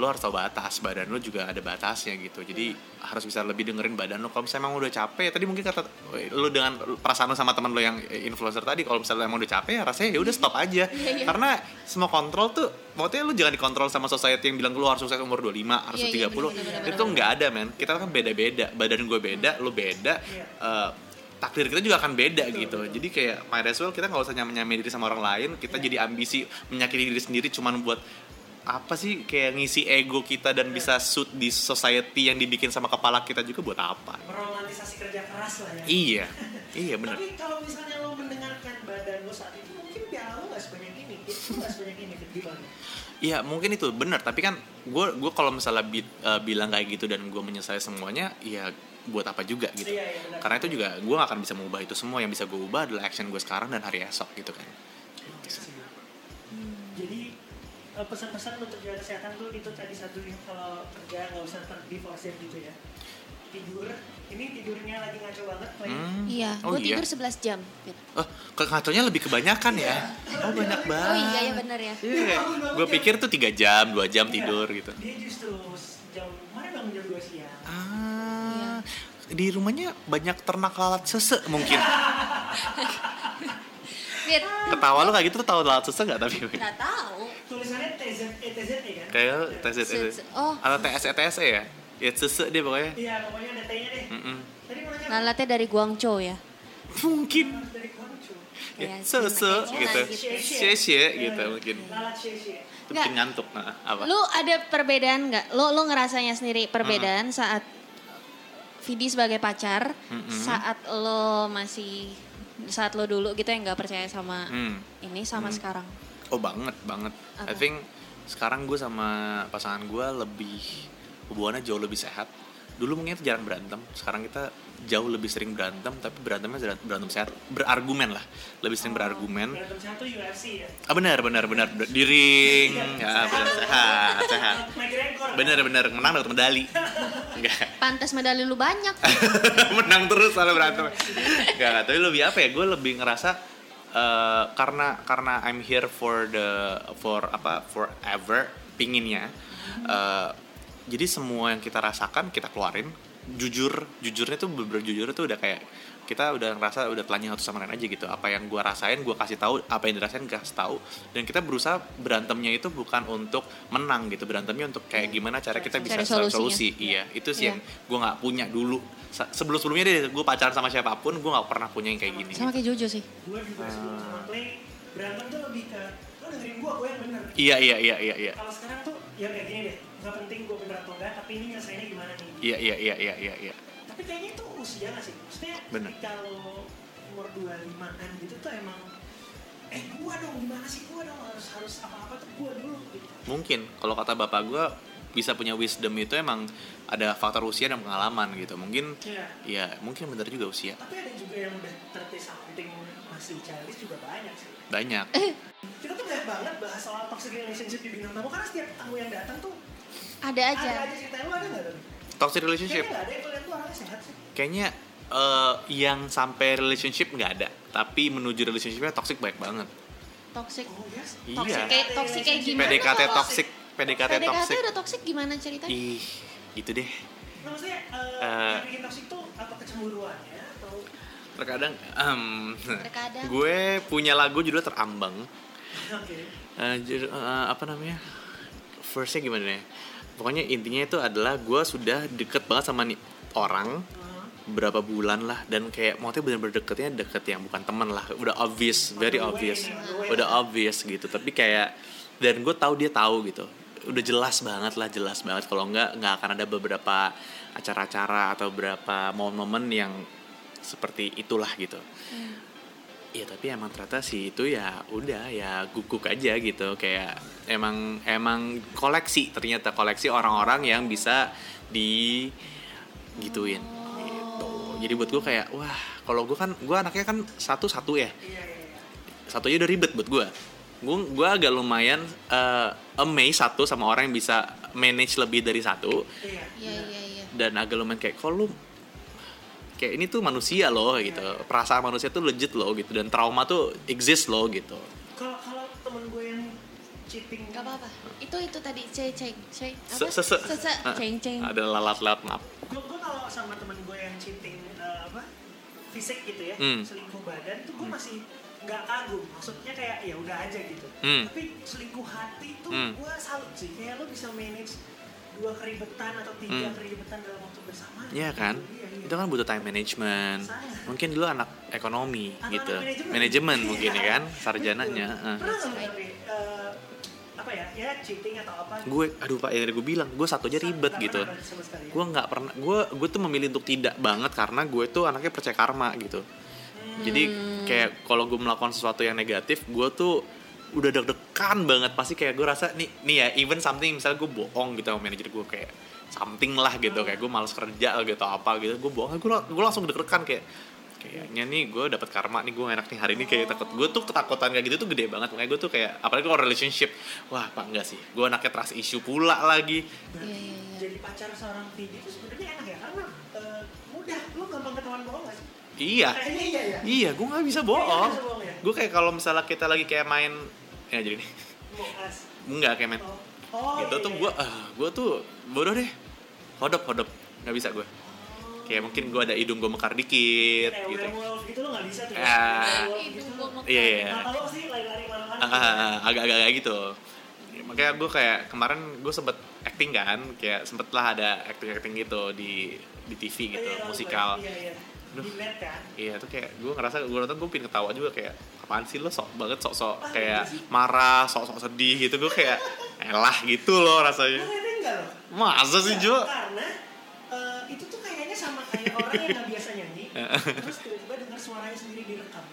C: lo harus tahu batas badan lo juga ada batasnya gitu jadi harus bisa lebih dengerin badan lo kalau misalnya emang udah capek tadi mungkin kata lo dengan perasaan lo sama teman lo yang influencer tadi kalau misalnya emang udah capek ya rasanya ya udah stop
B: Iya,
C: aja
B: iya.
C: karena semua kontrol tuh maksudnya lu jangan dikontrol sama society yang bilang lu harus sukses umur 25 harus
B: Iya, iya, bener,
C: 30
B: bener,
C: itu tuh nggak ada men kita kan beda-beda badan gue beda lu beda
A: Iya.
C: eh, takdir kita juga akan beda gitu jadi kayak might as well kita nggak usah nyamain diri sama orang lain kita jadi ambisi menyakiti diri sendiri cuman buat apa sih kayak ngisi ego kita dan bisa suit di society yang dibikin sama kepala kita juga buat apa
A: meromantisasi kerja keras lah ya
C: iya iya bener
A: Tapi kalau misalnya lo mendengarkan badan lo saat itu mungkin piala lo gak sebanyak ini, itu gak sebanyak ini kegilaan.
C: Ya mungkin itu benar tapi kan gue gue kalau misalnya bi- eh, bilang kayak gitu dan gue menyelesai semuanya ya buat apa juga gitu
A: Iya, iya, benar.
C: karena itu juga gue gak akan bisa mengubah itu semua yang bisa gue ubah adalah action gue sekarang dan hari esok gitu kan
A: Jadi eh, pesan-pesan untuk jaga kesehatan tuh itu tadi satu yang kalau kerja nggak usah terdivorce gitu ya. Tidur, ini tidurnya lagi ngaco banget. Play.
C: Hmm.
B: Iya,
C: oh
B: gue
C: iya
B: tidur 11 jam. gitu.
C: oh ke ngaconya lebih kebanyakan ya oh banyak banget
B: Oh iya, ya bener ya.
C: gue pikir tuh tiga jam dua jam
A: Iya.
C: tidur gitu
A: Dia justru jam kemarin bangun jam 2 siang.
C: ah di rumahnya banyak ternak lalat sese mungkin
B: Fit,
C: ketawa lo kayak gitu tahu lalat sese nggak tapi
B: nggak tahu.
A: Tulisannya TZ, eh, TZ kan?
C: kayak E. TSE
B: Sese- oh.
C: atau TSE TSE ya ya sese dia pokoknya
A: Iya, pokoknya ada T-nya deh.
C: Mm-mm.
A: Tadi mau nanya
B: Lalatnya dari Guangzhou ya.
C: mungkin
A: apa? dari Guangzhou.
C: ya,
B: Kayak
C: sese
B: gimana
C: gitu
B: gitu.
C: sese gitu mungkin
A: Lalat syesie.
C: Itu bikin ngantuk nah apa
B: Hmm. Lu ada perbedaan nggak? Lo lo ngerasanya sendiri perbedaan
C: Hmm.
B: saat Vidi sebagai pacar, saat lo masih saat lo dulu gitu yang nggak percaya sama
C: Hmm.
B: ini sama sekarang.
C: oh banget banget I
B: Apa?
C: think sekarang gue sama pasangan gue lebih hubungannya jauh lebih sehat dulu mungkin kita jarang berantem sekarang kita jauh lebih sering berantem tapi berantemnya berantem sehat berargumen lah lebih sering berargumen
A: Berantem satu UFC ya.
C: ah benar benar benar di ring ya benar sehat sehat
A: McGregor.
C: benar benar menang dapat medali enggak
B: Pantas medali lu banyak.
C: menang terus kalau berantem gak, gak tapi lebih apa ya gue lebih ngerasa eh, karena karena I'm here for the for apa forever pinginnya Eh, jadi semua yang kita rasakan kita keluarin jujur jujurnya tuh bener jujur tuh udah kayak kita udah ngerasa udah telanjang satu sama lain aja gitu apa yang gue rasain gue kasih tahu apa yang dirasain gue kasih tahu dan kita berusaha berantemnya itu bukan untuk menang gitu berantemnya untuk kayak gimana cara kita bisa
B: Iya. Cari
C: solusi,
B: solusinya.
C: solusi. iya itu sih
B: Iya.
C: yang gue nggak punya dulu sebelum sebelumnya deh gue pacaran sama siapapun gue nggak pernah punya yang kayak gini
B: sama kayak Jojo sih.
A: Gue juga sebelum sama Clay berantem tuh lebih ke lo dengerin gue, gue yang bener.
C: iya iya iya iya iya
A: Kalau sekarang tuh ya kayak gini deh, nggak penting gue bener atau enggak, tapi ini nyelesainnya gimana nih.
C: iya iya iya iya iya iya
A: Tapi kayaknya itu usia nggak sih? Maksudnya
C: Bener.
A: kalau umur 25-an gitu tuh emang eh gue dong gimana sih gue dong harus harus apa-apa tuh gue dulu gitu.
C: mungkin kalau kata bapak gue bisa punya wisdom itu emang ada faktor usia dan pengalaman gitu mungkin
A: Iya.
C: ya mungkin bener juga usia
A: Tapi ada juga yang udah 30 something masih si childish juga banyak sih
C: banyak
A: kita tuh banyak banget bahas soal toxic relationship di bintang tamu karena setiap tamu yang datang tuh
B: Ada aja.
A: ada aja ceritanya lu ada nggak tuh
C: toxic
A: kayaknya
C: relationship
A: nggak ada yang kalian tuh orangnya sehat sih
C: kayaknya eh, yang sampai relationship nggak ada tapi menuju relationshipnya toxic banyak banget
B: Toxic.
A: oh yes
C: Iya.
B: Toxic kayak toxic kayak gimana?
C: PDKT
B: kalau-
C: toxic PDKT
B: PDKT
C: toxic
B: udah toxic gimana ceritanya?
C: ih gitu deh
A: nah, maksudnya eh,
C: Eh.
A: yang bikin toxic tuh apa kecemburuannya atau
C: terkadang em,
B: Terkadang.
C: gue punya lagu judulnya terambang
A: oke
C: Eh, judul- eh, apa namanya verse-nya gimana ya pokoknya intinya itu adalah gue sudah deket banget sama nih orang
A: Heeh.
C: berapa bulan lah dan kayak maksudnya bener-bener deketnya deket yang bukan teman lah udah obvious very
A: the way,
C: obvious
A: on the way.
C: udah obvious gitu tapi kayak dan gue tahu dia tahu gitu udah jelas banget lah jelas banget kalau nggak nggak akan ada beberapa acara-acara atau beberapa momen-momen yang seperti itulah gitu Iya tapi emang ternyata si itu ya udah ya guguk aja gitu kayak emang emang koleksi ternyata koleksi orang-orang yang bisa di gituin gitu.
B: Oh.
C: Jadi buat gue kayak wah kalau gue kan gue anaknya kan satu satu
A: iya
C: ya
A: iya iya
C: satu aja udah ribet buat gue. Gue gue agak lumayan eh, amazed satu sama orang yang bisa manage lebih dari satu
A: iya
B: Iya iya iya.
C: dan agak lumayan kayak kok lu kayak ini tuh manusia loh gitu perasaan manusia tuh legit loh gitu dan trauma tuh exist loh gitu
A: kalau kalau temen gue yang cheating
B: Gak apa-apa. Itu itu tadi ceng ceng ceng.
C: Se- se- se-
B: Sese
C: Ah,
B: ceng ceng.
C: ada lalat-lalat maaf
A: gue gue kalau sama temen gue yang cheating eh, apa fisik gitu ya
C: Hmm.
A: selingkuh badan tuh gue masih nggak kagum maksudnya kayak ya udah aja gitu
C: Hmm.
A: tapi selingkuh hati tuh
C: Hmm.
A: gue salut sih kayak lo bisa manage dua keribetan atau tiga
C: Hmm.
A: keribetan dalam waktu bersamaan
C: Iya kan?
A: Iya, iya.
C: Itu kan butuh time management.
A: Sangat.
C: Mungkin dulu anak ekonomi
A: Anak-anak
C: gitu.
A: manajemen.
C: Manajemen mungkin ya
A: Iya.
C: kan sarjananya.
A: Betul.
C: heeh.
A: pernah nggak lo tapi eh, apa ya ya cheating atau apa
C: Gue aduh Pak, ya gue bilang gue satu aja ribet
A: Nggak
C: gitu.
A: pernah berarti sama sekali ya?
C: Gue nggak pernah gue gue tuh memilih untuk tidak banget karena gue tuh anaknya percaya karma gitu. Jadi kayak kalau gue melakukan sesuatu yang negatif, gue tuh udah deg-degan banget pasti kayak gue rasa nih nih ya even something misalnya gue bohong gitu sama manajer gue kayak something lah gitu kayak gue males kerja lah gitu apa gitu gue bohong gue gue langsung deg-degan kayak kayaknya nih gue dapat karma nih gue enak nih hari ini kayak takut gue tuh ketakutan kayak gitu tuh gede banget makanya gue tuh kayak apalagi kalau relationship wah apa enggak sih gue anaknya trust issue pula lagi
B: Iya iya iya.
A: Nah, jadi pacar seorang tinggi itu sebenarnya enak ya karena eh, mudah lo gampang ketahuan bohong gak sih
C: iya
A: kayaknya iya ya
C: Iya, gue nggak bisa
A: Iya,
C: bohong.
A: nggak bisa bohong ya?
C: Gue kayak kalau misalnya kita lagi kayak main, ya jadi nih,
A: mau as
C: nggak kayak main.
A: oh, oh
C: Iya. gitu
A: iya,
C: tuh
A: iya,
C: gue, ah, gue tuh bodoh deh. Hodop, hodop, nggak bisa gue. Kayak mungkin gue ada hidung gue mekar dikit,
A: Kayak
C: gitu.
A: werewolf gitu lo gak bisa tuh.
C: Ah.
A: Werewolf
B: Itu
A: gitu.
B: gua mau-
C: Iya, iya.
A: Mata lo sih lari-lari kemana-mana.
C: Ah, ah, ah, Agak-agak kayak gitu. Ya, Makanya gue kayak kemarin gue sempet acting kan, kayak sempet lah ada acting-acting gitu di di TV gitu,
A: Iya, iya,
C: musikal.
A: Iya, iya. Di net kan.
C: Iya tuh kayak gue ngerasa gue nonton gue pin ketawa juga kayak apaan sih lo sok banget
A: Ah,
C: sok-sok kayak
A: iya sih.
C: marah sok-sok sedih gitu gue kayak elah gitu loh rasanya
A: Lo enggak lo?
C: masa sih Jo
A: Karena eh, itu tuh kayaknya sama kayak orang yang gak biasa nyanyi.
C: Ah.
A: terus tiba-tiba dengar suaranya sendiri direkam.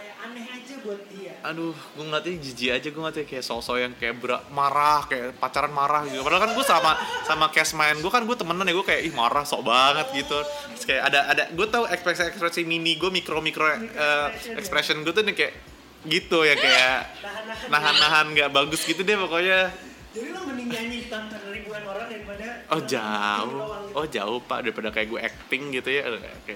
A: Kayak aneh aja buat dia.
C: aduh gue ngeliatnya jijik aja gue ngeliatnya kayak sosok yang kayak berak, marah kayak pacaran marah gitu padahal kan gue sama sama cast main gue kan gue temenan ya gue kayak ih marah sok banget gitu Terus kayak ada ada gue tahu ekspresi ekspresi mini gue mikro mikro eh,
A: expression ya.
C: expression gue tuh nih kayak gitu ya kayak
A: Nahan-nahan.
C: nahan-nahan nggak bagus gitu deh pokoknya
A: Jadi lo mending nyanyi di tangan ribuan orang daripada
C: Oh
A: di
C: jauh,
A: doang gitu.
C: oh jauh pak daripada kayak gue acting gitu ya. Oke.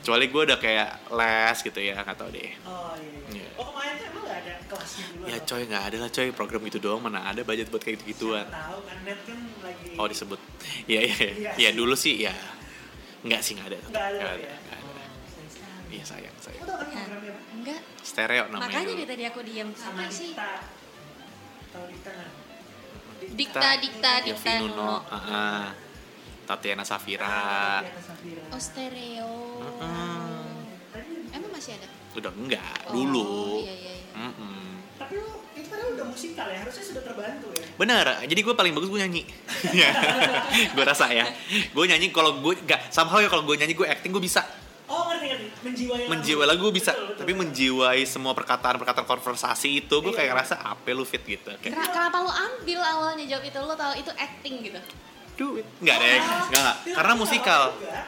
C: Kecuali gue udah kayak les gitu ya, nggak tau deh.
A: Oh iya. iya.
C: Iya.
A: Oh kemarin tuh emang gak ada kelasnya dulu.
C: Ya
A: atau-
C: coy nggak ada lah coy program gitu doang mana ada budget buat kayak gitu gituan.
A: Tahu kan net kan lagi.
C: Oh disebut, ya ya
A: Iya.
C: ya dulu sih ya nggak sih nggak ada. tetap.
A: Nggak ada
C: Nggak
A: tapi ya.
C: nggak ada. Iya sayang
A: Lo
C: sayang.
A: tau kan programnya apa?
B: Enggak.
C: Stereo namanya.
B: Makanya
C: dulu.
B: dari tadi aku diam.
A: Sama
B: Apa sih?
A: Dita. Tahu Dita nggak?
B: Dikta dikta
C: Ya,
B: dikta.
C: Vino
B: Nono.
C: no, ah, ah. Tatiana Safira.
A: Tatiana Safira.
B: Oh stereo.
A: Tadi-
B: Emang masih ada?
C: Udah enggak
B: Oh,
C: dulu.
B: iya, iya, iya.
C: Mm-mm.
A: Tapi lo itu kan udah musikal ya, harusnya sudah terbantu ya.
C: Bener, jadi gue paling bagus gue nyanyi Gue rasa ya Gue nyanyi kalau gue, gak, somehow ya kalau gue nyanyi gue acting gue bisa
A: Oh ngerti ngerti, menjiwai lagu.
C: Menjiwai lagu gue bisa
A: Betul, betul.
C: Tapi menjiwai semua perkataan-perkataan konversasi itu
A: Iya.
C: Gue kayak ngerasa apa lu fit gitu Kayak
B: Kera- Kenapa lu ambil awalnya jawab itu? Lu tahu itu acting gitu.
C: duit Nggak deh, nggak, nggak. Karena musikal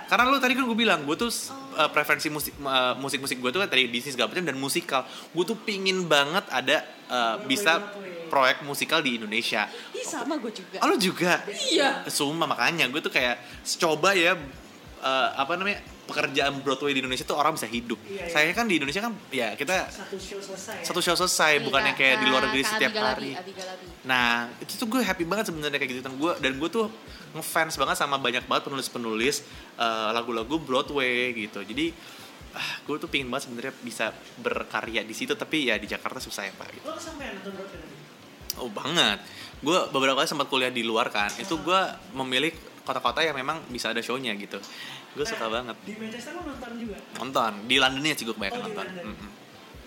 C: Karena lu tadi kan gue bilang, gue tuh eh, preferensi musik eh, musik-musik gue tuh kan tadi Disney segala macam dan musikal. Gue tuh pingin banget ada eh,
A: Gue
C: bisa
A: pengen
C: proyek musikal di Indonesia.
D: Ih sama gue juga.
C: Oh, lu juga?
D: Iya.
C: Sumpah makanya gue tuh kayak coba ya eh, apa namanya pekerjaan Broadway di Indonesia tuh orang bisa hidup.
A: Iya, iya.
C: Saya kan di Indonesia kan ya kita
A: satu show selesai ya?
C: satu show selesai Eh, bukan yang kayak di luar
A: nah,
C: negeri setiap hari.
D: Abi Galabi.
C: Nah itu tuh gue happy banget sebenarnya kayak gitu dan gue dan gue tuh ngefans banget sama banyak banget penulis-penulis eh, lagu-lagu Broadway gitu. Jadi ah, gue tuh pingin banget sebenarnya bisa berkarya di situ tapi ya di Jakarta susah ya pak.
A: lo kesampean nonton Broadway tadi?
C: Oh banget. Gue beberapa kali sempat kuliah di luar kan. Itu gue memilih kota-kota yang memang bisa ada show-nya gitu. Gue suka
A: Nah,
C: banget.
A: di Manchester lo nonton juga
C: Nonton di Londonnya sih gue kebanyakan
A: Oh, di
C: nonton.
A: London.
C: Mm-mm.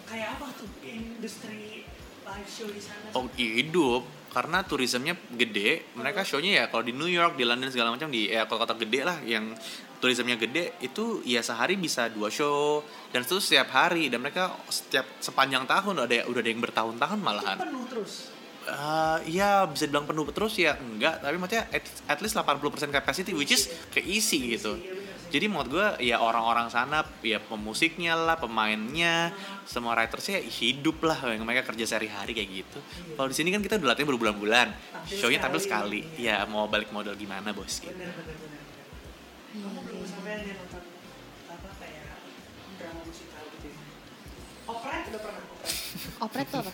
A: kayak apa tuh industri live show di sana
C: Oh hidup karena turismenya gede. Mereka show-nya ya kalau di New York, di London segala macam di ya kota-kota gede lah yang turismenya gede itu ya sehari bisa dua show dan itu setiap hari dan mereka setiap sepanjang tahun ada ya, udah ada yang bertahun-tahun
A: itu
C: malahan.
A: penuh terus
C: Eh, ya bisa dibilang penuh terus ya enggak tapi maksudnya at, at least 80% capacity which is keisi gitu
A: Iya, bener sih.
C: jadi menurut gue ya orang-orang sana ya pemusiknya lah pemainnya semua writersnya hidup lah yang mereka kerja sehari-hari kayak gitu kalau di sini kan kita udah latihan berbulan-bulan
A: Tampil
C: shownya tampil
A: sekali.
C: sekali ya mau balik modal gimana bos gitu.
A: bener bener bener
B: Iya.
A: kamu belum kesampean ya nonton apa kayak drama musikal gitu ya operet udah pernah operet
B: Opret tuh apa?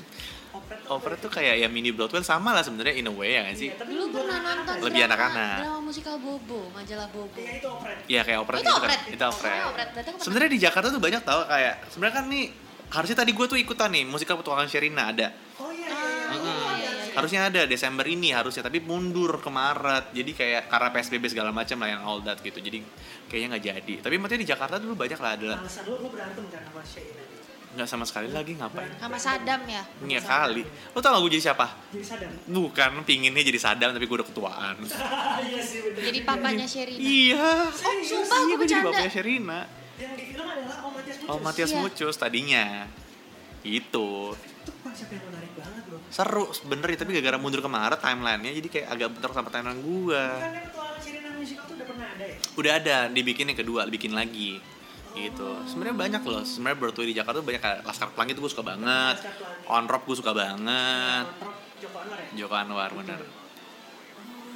A: operet
C: opera tuh kayak ya mini Broadway sama lah sebenarnya in a way ya nggak sih
A: Iya, tapi
B: Dulu
A: lu
B: pernah nonton
C: Lebih
B: drama-
C: anak-anak.
B: Drama musikal Bobo, majalah Bobo.
A: ya itu operet
C: ya kayak opera
B: Oh, itu
C: gitu kan
B: operet.
C: itu opera
B: Oh, operet. Berarti aku pernah-
C: sebenarnya di Jakarta tuh banyak tau kayak sebenarnya kan nih harusnya tadi gue tuh ikutan nih musikal petualangan Sherina ada
A: oh iya iya iya,
B: Ah, iya,
A: iya,
B: iya,
A: iya.
B: iya.
C: harusnya ada Desember ini harusnya tapi mundur ke Maret jadi kayak karena PSBB segala macam lah yang all that gitu jadi kayaknya nggak jadi tapi maksudnya di Jakarta dulu banyak lah ada
A: alasan lu lu berantem kan sama Shaina
C: nggak sama sekali lagi ngapain
B: Sama Sadam ya?
C: Iya kali lo tau gak gue jadi siapa
A: jadi sadar
C: bukan pinginnya jadi sadam tapi gue udah ketuaan
A: iya sih bener
B: Jadi papanya Sherina.
A: oh
C: iya
B: sumpah,
C: iya
B: gue
C: gue jadi
B: bercanda.
C: bapaknya Sherina
A: yang di film adalah Om Matias Mucus
C: oh Matias
B: Iya.
C: Mucus tadinya itu
A: itu konsep yang menarik banget bro
C: seru sebenernya tapi gara-gara mundur ke Maret timelinenya jadi kayak agak bentar sama timeline gue
A: bukannya petualangan Sherina musikal tuh udah pernah ada ya
C: udah ada dibikin yang kedua dibikin lagi gitu sebenarnya banyak loh sebenarnya Broadway di Jakarta tuh banyak kayak Laskar Pelangi itu gue suka banget
A: Laskar Pelangi.
C: On Rock gue suka banget
A: Kontrak Joko Anwar ya
C: Eh.
A: Hmm,
C: Joko Anwar bener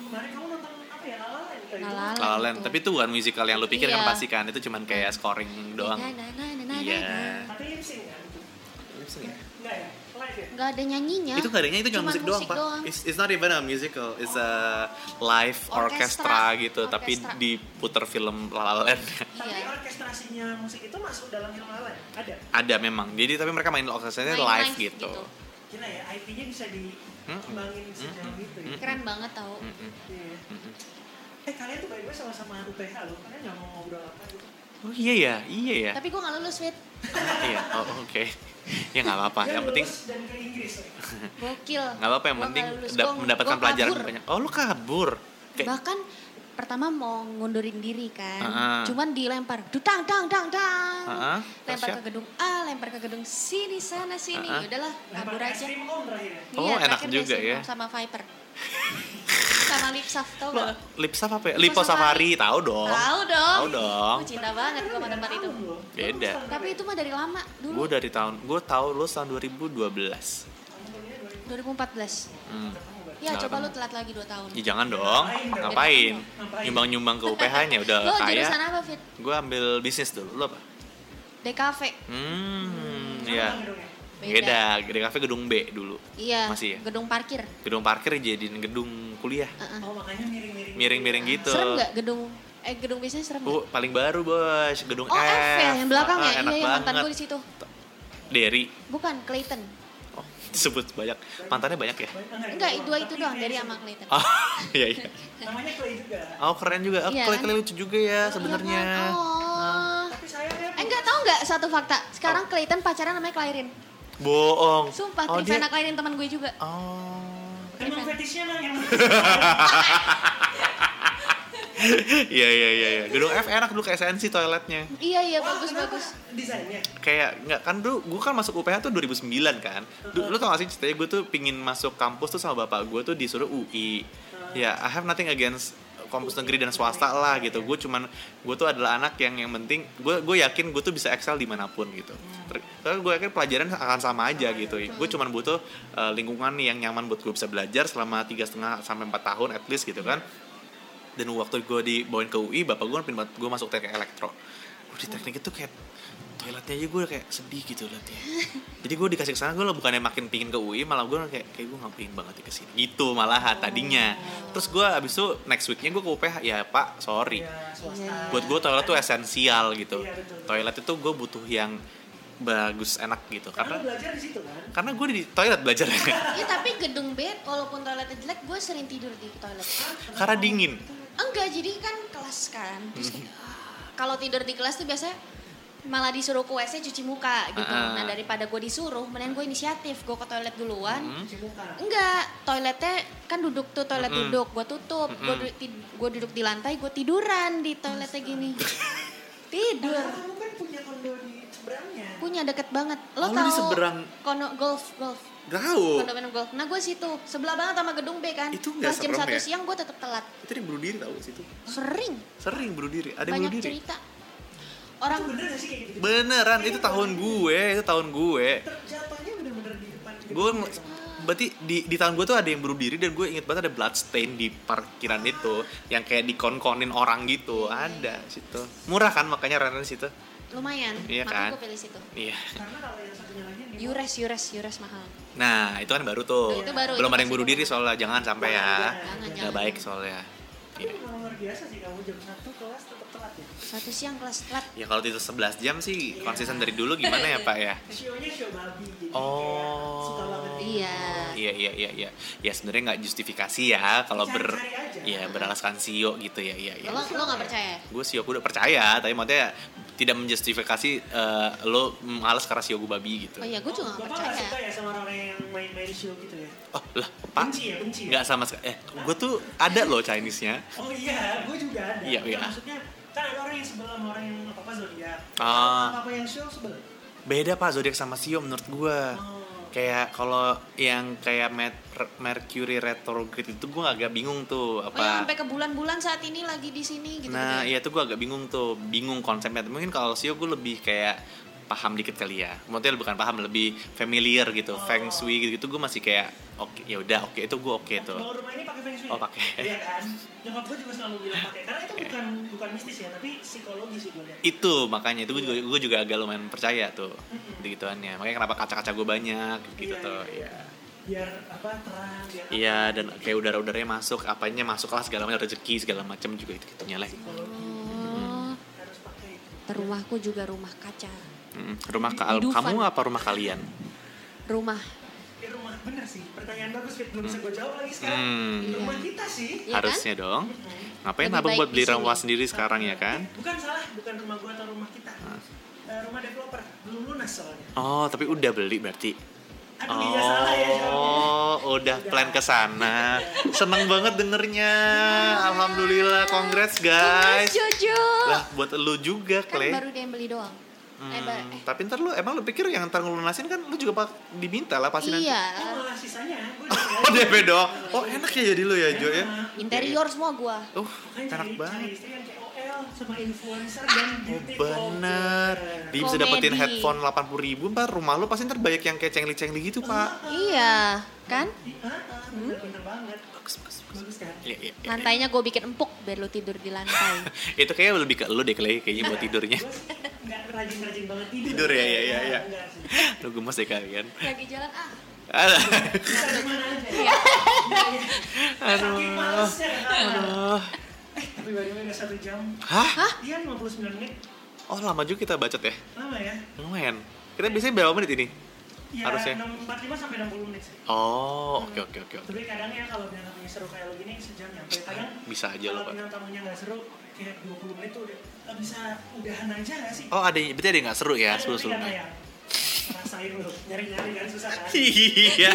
A: kemarin kamu nonton apa ya Lala Land Eh,
B: La La
A: itu-
B: Land.
C: La La Land. tapi itu bukan musical yang lu pikir kan
B: Iya.
C: pasti kan itu cuman kayak scoring doang
B: Na, na, na, na, na,
C: iya
B: na, na.
A: tapi lip sync kan enggak ya live ya
B: Nggak ada nyanyinya.
C: itu gak adanya itu cuma musik, doang, pak Iya. it's, it's not even a musical it's a live orchestra,
B: Orkestra.
C: gitu tapi
B: Orkestra.
C: diputer film La La Land
A: tapi
B: Iya.
A: orkestrasinya musik itu masuk dalam film La La Land ada
C: ada memang jadi tapi mereka main orkestranya
B: Main
C: live,
B: live
C: gitu,
B: gitu.
A: gila ya IP-nya bisa dikembangin
C: Hmm.
A: sejauh
C: Mm-mm.
A: itu ya
C: Mm-mm.
B: Keren banget tau.
C: Mm-mm.
A: Iya.
C: Mm-mm.
A: eh kalian tuh by the way sama-sama UPH loh kalian nggak mau ngobrol apa gitu
C: oh iya ya iya ya
B: Tapi gue nggak lulus, Fit.
C: Iya, oh, oke. Ya nggak apa-apa.
A: Dia
C: Yang penting
A: lulus dan ke Inggris ya.
B: Gokil.
C: nggak apa-apa. Yang
B: Gua
C: penting
B: nggak lulus.
C: dap-
B: Gua-
C: mendapatkan
B: gua
C: pelajaran
B: kabur.
C: banyak. Oh lu kabur. Kayak
B: Bahkan pertama mau ngundurin diri kan.
C: Ah.
B: Cuman dilempar. Dudang, dang, dang, dang.
C: Ah, ah.
B: Lempar
C: Terus
B: ke gedung A, lempar ke gedung sini, sana, sini.
C: Ah, ah.
B: Udahlah,
A: Lempar
B: kabur
A: ke
B: aja.
A: Steam Om terakhir. ya?
C: Oh,
B: Iya,
C: enak
B: terakhir
C: juga
B: disimpan
C: ya.
B: Sama Viper. sama Lipsaf, tau
C: lu
B: gak?
C: lipsaf apa ya?
B: Lipo
C: Lipo
B: Safari.
C: Safari, tahu dong.
B: Tahu dong.
C: Tahu dong.
B: Gua cinta banget gue sama tempat itu.
C: Beda.
B: Tapi itu mah dari lama
C: Gue
B: dulu.
C: dari tahun, gue tahu lu tahun 2012.
B: 2014.
C: Hmm.
B: Ya
C: Nggak
B: coba
C: tahu.
B: lu telat lagi 2 tahun.
C: Ya, jangan dong.
A: Ngapain dong?
C: Ngapain?
A: Ngapain?
C: Nyumbang-nyumbang ke UPH-nya udah
B: Lu
C: kaya.
B: jurusan apa Fit?
C: Gue ambil bisnis dulu, lu apa?
B: DKV.
C: Hmm, ya.
B: Beda.
C: Beda, Gede Cafe gedung B dulu.
B: Iya.
C: Masih ya?
B: Gedung parkir.
C: Gedung parkir jadiin gedung kuliah.
B: Heeh.
A: Oh makanya miring-miring.
C: Miring-miring gitu.
B: Serem nggak gedung eh gedung biasanya serem
C: Bu,
B: nggak?
C: paling baru bos, gedung
B: Oh F, ya yang belakang
C: Ah,
B: ya.
C: Enak
B: Iya, iya mantan
C: banget.
B: gue di situ.
C: Derry.
B: Bukan Clayton.
C: Oh, disebut banyak. Mantannya banyak ya?
B: Enggak,
A: doang.
B: dua itu
A: Tapi
B: doang
A: kayak
B: dari
A: se-
B: sama Clayton.
C: Oh, iya iya.
A: Namanya Clay juga.
C: Oh, keren juga. Oh,
B: Iya,
C: kali
B: kan?
C: kali lucu juga ya
B: Iya
C: sebenarnya.
B: kan? Oh.
A: Tapi saya ya.
B: Eh enggak tahu nggak satu fakta. Sekarang Clayton pacaran namanya Clairin.
C: Bohong.
B: Sumpah,
C: oh,
B: Trivana
C: dia-
B: Clairin teman gue juga.
C: Oh.
A: Emang
B: Ivan.
A: fetishnya nang yang.
C: Iya iya iya iya. Gedung F enak dulu kayak SNC toiletnya.
B: Iya iya
A: Wah,
B: bagus
A: kenapa
B: bagus.
A: Desainnya.
C: kayak nggak kan dulu gue kan masuk UPH tuh 2009 kan Lu- lu tau gak sih ceritanya gue tuh pingin masuk kampus tuh sama bapak gue tuh disuruh UI ya I have nothing against kampus negeri dan swasta lah gitu gue cuman gue tuh adalah anak yang yang penting gue gue yakin gue tuh bisa excel dimanapun gitu Ter- karena gue yakin pelajaran akan sama aja gitu gue cuman butuh eh, lingkungan yang nyaman buat gue bisa belajar selama tiga setengah sampai empat tahun at least gitu kan dan waktu gue dibawain ke UI bapak gue pindah gue masuk teknik elektro gue di teknik itu kayak toiletnya aja gue kayak sedih gitu liatnya jadi gue dikasih ke sana gue bukannya makin pingin ke UI malah gue kayak kayak gue nggak pingin banget ya ke sini gitu malahan tadinya terus gue abis itu next weeknya gue ke UPH ya pak sorry
A: Ya, swasta.
B: Iya.
C: buat gue toilet tuh esensial gitu
A: Iya, betul.
C: toilet itu gue butuh yang bagus enak gitu
A: Karena lu
C: karena
A: belajar di situ kan?
C: karena gue di toilet belajarnya
B: Iya tapi gedung B walaupun toiletnya jelek gue sering tidur di toilet.
C: karena dingin
B: Enggak jadi kan kelas kan.
C: Mhm.
B: Terus kayak, ah, kalau tidur di kelas tuh biasanya malah disuruh ke WC cuci muka gitu.
C: Ah.
B: Nah daripada gue disuruh, mending gue inisiatif gue ke toilet duluan.
C: Mhm. Hmm?
A: Cuci muka.
B: Enggak, toiletnya kan duduk tuh toilet
C: Mm-mm.
B: duduk, gue tutup, gue
C: Mm-mm.
B: du- ti- gua duduk di lantai, gue tiduran di toiletnya gini, tidur.
A: Padahal kamu kan punya kondo di seberangnya.
B: Punya deket banget. Lo
C: Oh, lu
B: tau
C: di seberang.
B: kono golf golf
C: tahu
B: kondomen golf. Nah gue situ sebelah banget sama gedung B kan.
C: Itu nggak
B: Pas jam
C: serem
B: satu
C: ya?
B: siang gue tetap telat.
C: itu dia bunuh diri tahu situ
B: Sering.
C: sering bunuh diri ada yang
B: banyak
C: bunuh diri
B: cerita.
A: Itu
B: Orang
A: bener gak sih kayak gitu?
C: beneran itu tahun gue itu tahun gue
A: Jatuhnya bener-bener di depan. gitu.
C: gue ng- berarti di, di tahun gue tuh ada yang bunuh diri dan gue inget banget ada blood stain di parkiran itu yang kayak dikon-konin orang gitu ada situ murah kan makanya rentan situ
B: lumayan.
C: Iya
B: Makanya
C: kan?
B: gue pilih situ.
C: iya
A: Karena kalau yang satunya lagi nih.
B: Yures yures yures mahal.
C: nah itu kan baru tuh
B: Itu baru, itu
C: belum ada yang
B: masih
C: bunuh diri soalnya jangan sampai ya
B: Jangan,
C: nggak
B: jangan.
C: baik soalnya
A: Tapi
C: Iya.
A: memang luar biasa sih kamu jam 1 kelas tetap telat ya.
B: Satu siang kelas telat.
C: ya kalau tidur 11 jam sih
A: Iya.
C: konsisten dari dulu gimana ya pak ya
A: Shio-nya show babi jadi kayak
C: Oh.
A: suka banget.
B: Iya.
C: Iya iya iya iya. Ya sebenarnya nggak justifikasi ya kalau ber
A: Cari-cari aja.
C: ya beralaskan sio gitu ya iya iya.
B: Lo lo nggak percaya?
C: Gue sio gue udah percaya tapi maksudnya tidak menjustifikasi eh, lo males karena sio gue babi gitu.
B: Oh iya gue juga nggak
A: Bapak nggak suka
B: percaya.
A: ya sama orang yang main-main show gitu ya?
C: Oh lah pak.
A: Benci ya, benci ya?
C: Nggak sama sekali. Eh gue tuh ada loh Chinese-nya.
A: Oh iya, gue juga ada.
C: Iya,
A: Tapi
C: iya.
A: Maksudnya kan ada orang yang sebelah sama orang yang apa apa zodiak.
C: Ah.
A: Apa apa yang show sebelah.
C: Beda pak zodiak sama sio menurut gue.
A: Oh.
C: Kayak kalau yang kayak Mer- Mercury retrograde itu gue agak bingung tuh apa.
B: Oh yang sampai ke bulan-bulan saat ini lagi di sini gitu.
C: nah iya tuh gue agak bingung tuh bingung konsepnya mungkin kalau sio gue lebih kayak paham dikit kali ya maksudnya bukan paham lebih familiar gitu
A: Oh.
C: feng shui gitu, gue masih kayak oke ya udah oke itu gue oke tuh
A: Bangun rumah ini pakai feng shui.
C: Gitu. Oh, pakai.
A: Iya kan. Nyokap gue juga selalu bilang pakai. Karena itu bukan bukan mistis ya, tapi psikologi sih gue lihat.
C: itu makanya itu gue juga, gua juga agak lumayan percaya tuh gitu gituannya makanya kenapa kaca-kaca gue banyak gitu
A: Iya,
C: tuh
A: iya.
C: iya
A: Biar apa terang, biar apa,
C: iya dan kayak udara-udaranya masuk apanya masuk lah segala macam rezeki segala macam juga itu gitunya lah
A: psikologi
B: Oh,
A: harus pakai. itu.
B: rumahku juga rumah kaca.
C: Mm, rumah ka-
B: Dufan.
C: kamu apa rumah kalian
B: Rumah.
A: Di rumah bener sih. Pertanyaan bagus Fit, belum bisa gue jawab lagi sekarang.
C: Hmm.
A: Di Rumah
B: Iya.
A: kita sih.
B: Iya kan?
C: harusnya dong ngapain
B: Lebih
C: abang
B: baik
C: buat beli
B: di sini.
C: rumah sendiri sekarang ya kan Ah.
A: Bukan salah, bukan rumah gue atau rumah kita. Eh, rumah developer belum lunas soalnya.
C: Oh, tapi udah beli berarti.
A: Aduh iya salah ya jawabnya.
C: Oh, udah plan ke sana. Seneng banget dengernya. Alhamdulillah,
B: Mas
C: congrats guys.
B: Jojo.
C: Lah, buat lu juga,
B: Kan
C: Kle.
B: baru dia yang beli doang. Eh, ba-
C: Hmm,
B: eh,
C: tapi ntar lu emang lu pikir yang ntar ngelunasin kan lu juga pak diminta lah pasti nanti.
B: iya.
A: Oh malah sisanya. Gue
C: Oh, DP dong. Oh, enak ya jadi lu ya, Jo ya.
B: Interior semua gua.
C: Uh,
A: Makanya cari,
C: enak
A: cari
C: banget. Oh,
A: istri yang KOL sama influencer dan beauty
C: Bener. Dia bisa dapetin
B: Komedi.
C: headphone 80 ribu, ntar rumah lu pasti ntar banyak yang kayak cengli-cengli gitu, Pak.
B: Iya, kan?
A: Bener-bener banget.
C: Bagus, bagus, bagus.
A: Bagus kan?
C: Iya, iya, iya.
B: Lantainya gue bikin empuk biar lu tidur di lantai.
C: itu kayaknya lebih ke lu deh Clay, kayaknya buat tidurnya
A: Gue sih nggak rajin-rajin banget tidur.
C: Tidur ya, ya, ya, ya.
A: Nggak sih.
C: lu gemes deh kalian
B: Lagi jalan ah.
C: Aduh.
A: Bisa gimana aja. ya.
C: Aduh.
A: Saking malesnya kan.
C: Aduh.
A: Eh, tapi by the way udah satu jam.
C: hah
A: Iya 59 menit.
C: oh lama juga kita bacot ya
A: Lama ya?
C: lumayan kita biasanya berapa menit ini
A: Ya,
C: Harusnya.
A: 45 sampai 60 menit sih.
C: oh oke oke oke oke.
A: Tapi kadang ya kalau bintang tamunya seru kayak lo gini sejam nyampe. Kadang
C: bisa aja
A: kalau
C: loh pak
A: bintang tamunya nggak seru kayak 20 menit tuh udah eh, bisa udahan aja nggak sih?
C: oh ada berarti ada yang nggak seru ya seru seru
A: Rasain lo nyari-nyari kan susah kan?
C: iya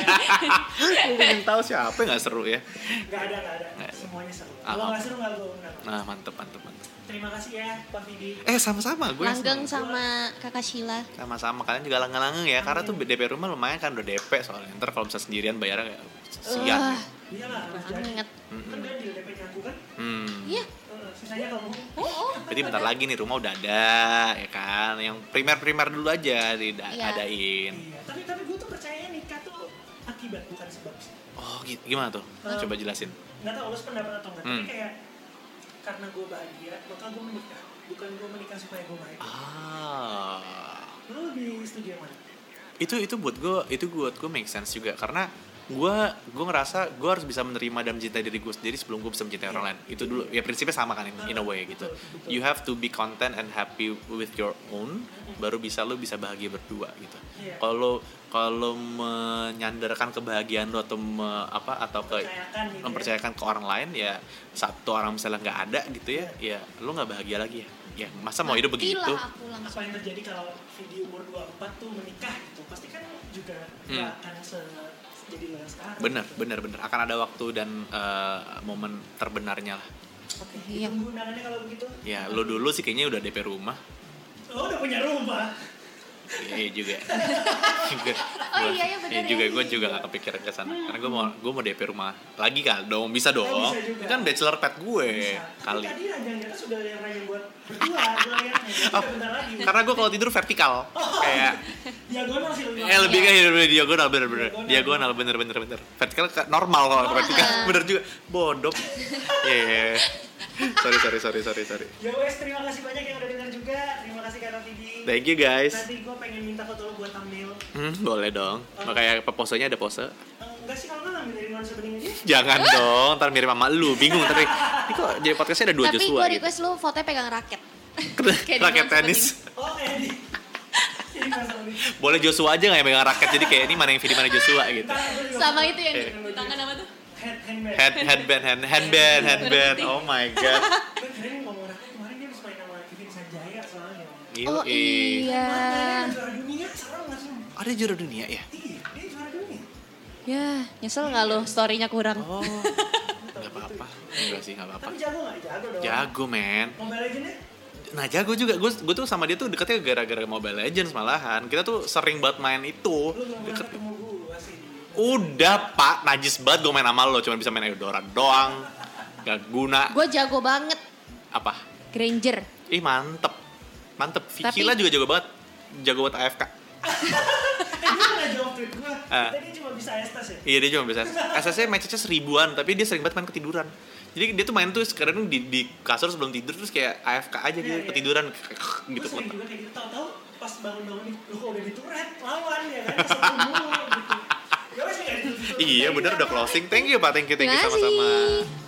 C: Lu pengen tahu siapa yang nggak seru ya
A: Nggak ada nggak ada.
C: Nggak ada.
A: Semuanya seru.
C: Ah,
A: Kalau
C: ah.
A: nggak seru nggak gue undang.
C: nah mantep mantep mantep
A: Terima kasih ya Pak Vidi.
C: eh sama-sama gue
B: Langgeng sama Kakak Sheila.
C: sama-sama kalian juga langgeng-langgeng ya karena tuh DP rumah lumayan kan udah DP soalnya ntar kalau bisa sendirian bayarnya kayak sian
B: Wah,
A: Iya lah, harus jadi.
B: Banget.
A: Kan dia di DP nyaku kan?
C: Hmm.
B: Iya.
A: Eh, Sisanya kamu.
B: Oh, oh.
C: Berarti bentar lagi nih rumah udah ada, ya kan? Yang primer-primer dulu aja
B: Iya.
C: diadain.
A: Iya. Tapi tapi gue tuh percaya nikah tuh akibat bukan sebab. sih.
C: Oh, gitu. gimana tuh?
A: Eh,
C: Coba jelasin.
A: Nggak tahu lu sependapat atau enggak, tapi
C: Hmm.
A: kayak karena gue bahagia, maka gue menikah. Bukan gue menikah supaya gue bahagia.
C: Ah.
A: Lu lebih setuju yang mana?
C: itu itu buat gue itu buat gue make sense juga karena gue gue ngerasa gue harus bisa menerima dan mencintai diri gue sendiri sebelum gue bisa mencintai orang lain itu dulu ya prinsipnya sama kan in, in a way gitu you have to be content and happy with your own baru bisa lo bisa bahagia berdua gitu
A: Iya.
C: kalau kalau menyandarkan kebahagiaan lo atau me- apa atau ke
A: Percayakan gitu. Ya.
C: mempercayakan ke orang lain ya satu orang misalnya nggak ada gitu ya ya lo nggak bahagia lagi ya ya masa mau hidup
B: Matilah
C: begitu
B: aku
A: Apa
B: langsung.
A: yang terjadi kalau video umur 24 tuh menikah gitu? Pasti kan juga
C: Hmm.
A: nggak akan se jadi lo yang sekarang.
C: Bener,
A: gitu.
C: bener, bener. Akan ada waktu dan eh, momen terbenarnya lah.
A: Oke,
B: Iya.
A: ditunggu undangannya Gitu kalau begitu.
C: Ya, lo dulu sih kayaknya udah DP rumah.
A: Lo udah punya rumah.
C: Iya iya juga. Juga.
B: Oh iya, iya, bener ya.
C: juga gue juga gak kepikiran ke sana. Karena gue mau gue mau DP rumah lagi kan dong bisa dong.
A: bisa juga.
C: Ini kan bachelor pet gue
A: Bisa. Tapi
C: kali.
A: Tadi ranjang kita sudah yang ranjang buat berdua, gue liatnya. Jadi
C: Oh,
A: bentar lagi.
C: Karena gue kalau tidur vertikal kayak
A: Diagonal Ya, sih lebih.
C: eh lebih kayak bener diagonal bener bener
A: Diagonal.
C: diagonal bener bener bener vertikal ke- normal kalau vertikal
B: Ah.
C: bener juga bodoh. Iya. iya, iya. Sorry sorry sorry sorry sorry.
A: Ya wes, terima kasih banyak yang udah dengar juga. Terima kasih Kak Vidi.
C: Thank you guys.
A: Nanti gue pengen minta foto lo buat thumbnail.
C: Hmm, boleh dong. Makanya pe- posenya ada pose.
A: Eh, Enggak sih kalau nggak ngambil dari nuansa bening aja.
C: Jangan dong, ntar mirip sama lu. Bingung tapi ini kok jadi podcastnya ada dua
B: Tapi
C: Joshua
B: gue
C: gitu.
B: request lu fotonya pegang raket. kayak di
C: raket
B: nuansa
C: tenis.
A: Oh, Edi. Jadi nuansa bening.
C: Boleh Joshua aja nggak yang megang raket? Jadi kayak ini mana yang Vidi mana Joshua gitu.
A: Ntar gua juga
B: Sama
A: foto.
B: itu yang di,
C: Eh.
B: di tangan apa tuh?
A: Head handmade.
C: Head headband hand handband handband. Oh my god.
A: Gue keren ngomong rakyat kemarin dia harus main sama Kevin Sanjaya soalnya.
B: Oh
C: Yoi.
B: iya.
A: Kemarin kan juara dunia, serem nggak sih?
C: Ada juara dunia ya?
A: Iya, dia juara dunia.
B: Ya, nyesel nggak lu story-nya kurang?
C: Oh. Gak apa-apa. Enggak sih, gak apa-apa.
A: Tapi jago nggak? Jago dong.
C: Ah. Jago men
A: Mobile Legends nih?
C: Nah jago juga Gue gue tuh sama dia tuh deketnya gara-gara Mobile Legends malahan Kita tuh sering banget main
A: Lu
C: itu
A: belum pernah
C: Deket
A: ketemu gue sih.
C: Udah pak, najis banget gue main sama lo, cuma bisa main Eudoran doang Gak guna
B: Gue jago banget
C: Apa?
B: Granger.
C: Ih mantep Mantep,
B: Tapi-
C: Vikila juga jago banget Jago banget AFK
A: Eh, dia pernah jawab tweet gue.
C: Ah.
A: Tadi cuma bisa Estas ya.
C: Iya dia cuma bisa SS-nya match-nya seribuan, tapi dia sering banget main ketiduran Jadi dia tuh main tuh sekarang di, di kasur sebelum tidur terus kayak AFK aja
A: Iya,
C: gitu,
A: iya.
C: ketiduran
A: Gue
C: gitu
A: sering juga kayak gitu. Tahu-tahu pas bangun-bangun nih, lu kok udah dituret lawan ya kan? Kesel mulu gitu. Ya wes nggak ditutup.
C: Iya bener udah Iya, closing, thank you pak, thank you, thank you
B: Terima
C: sama-sama
B: kasih.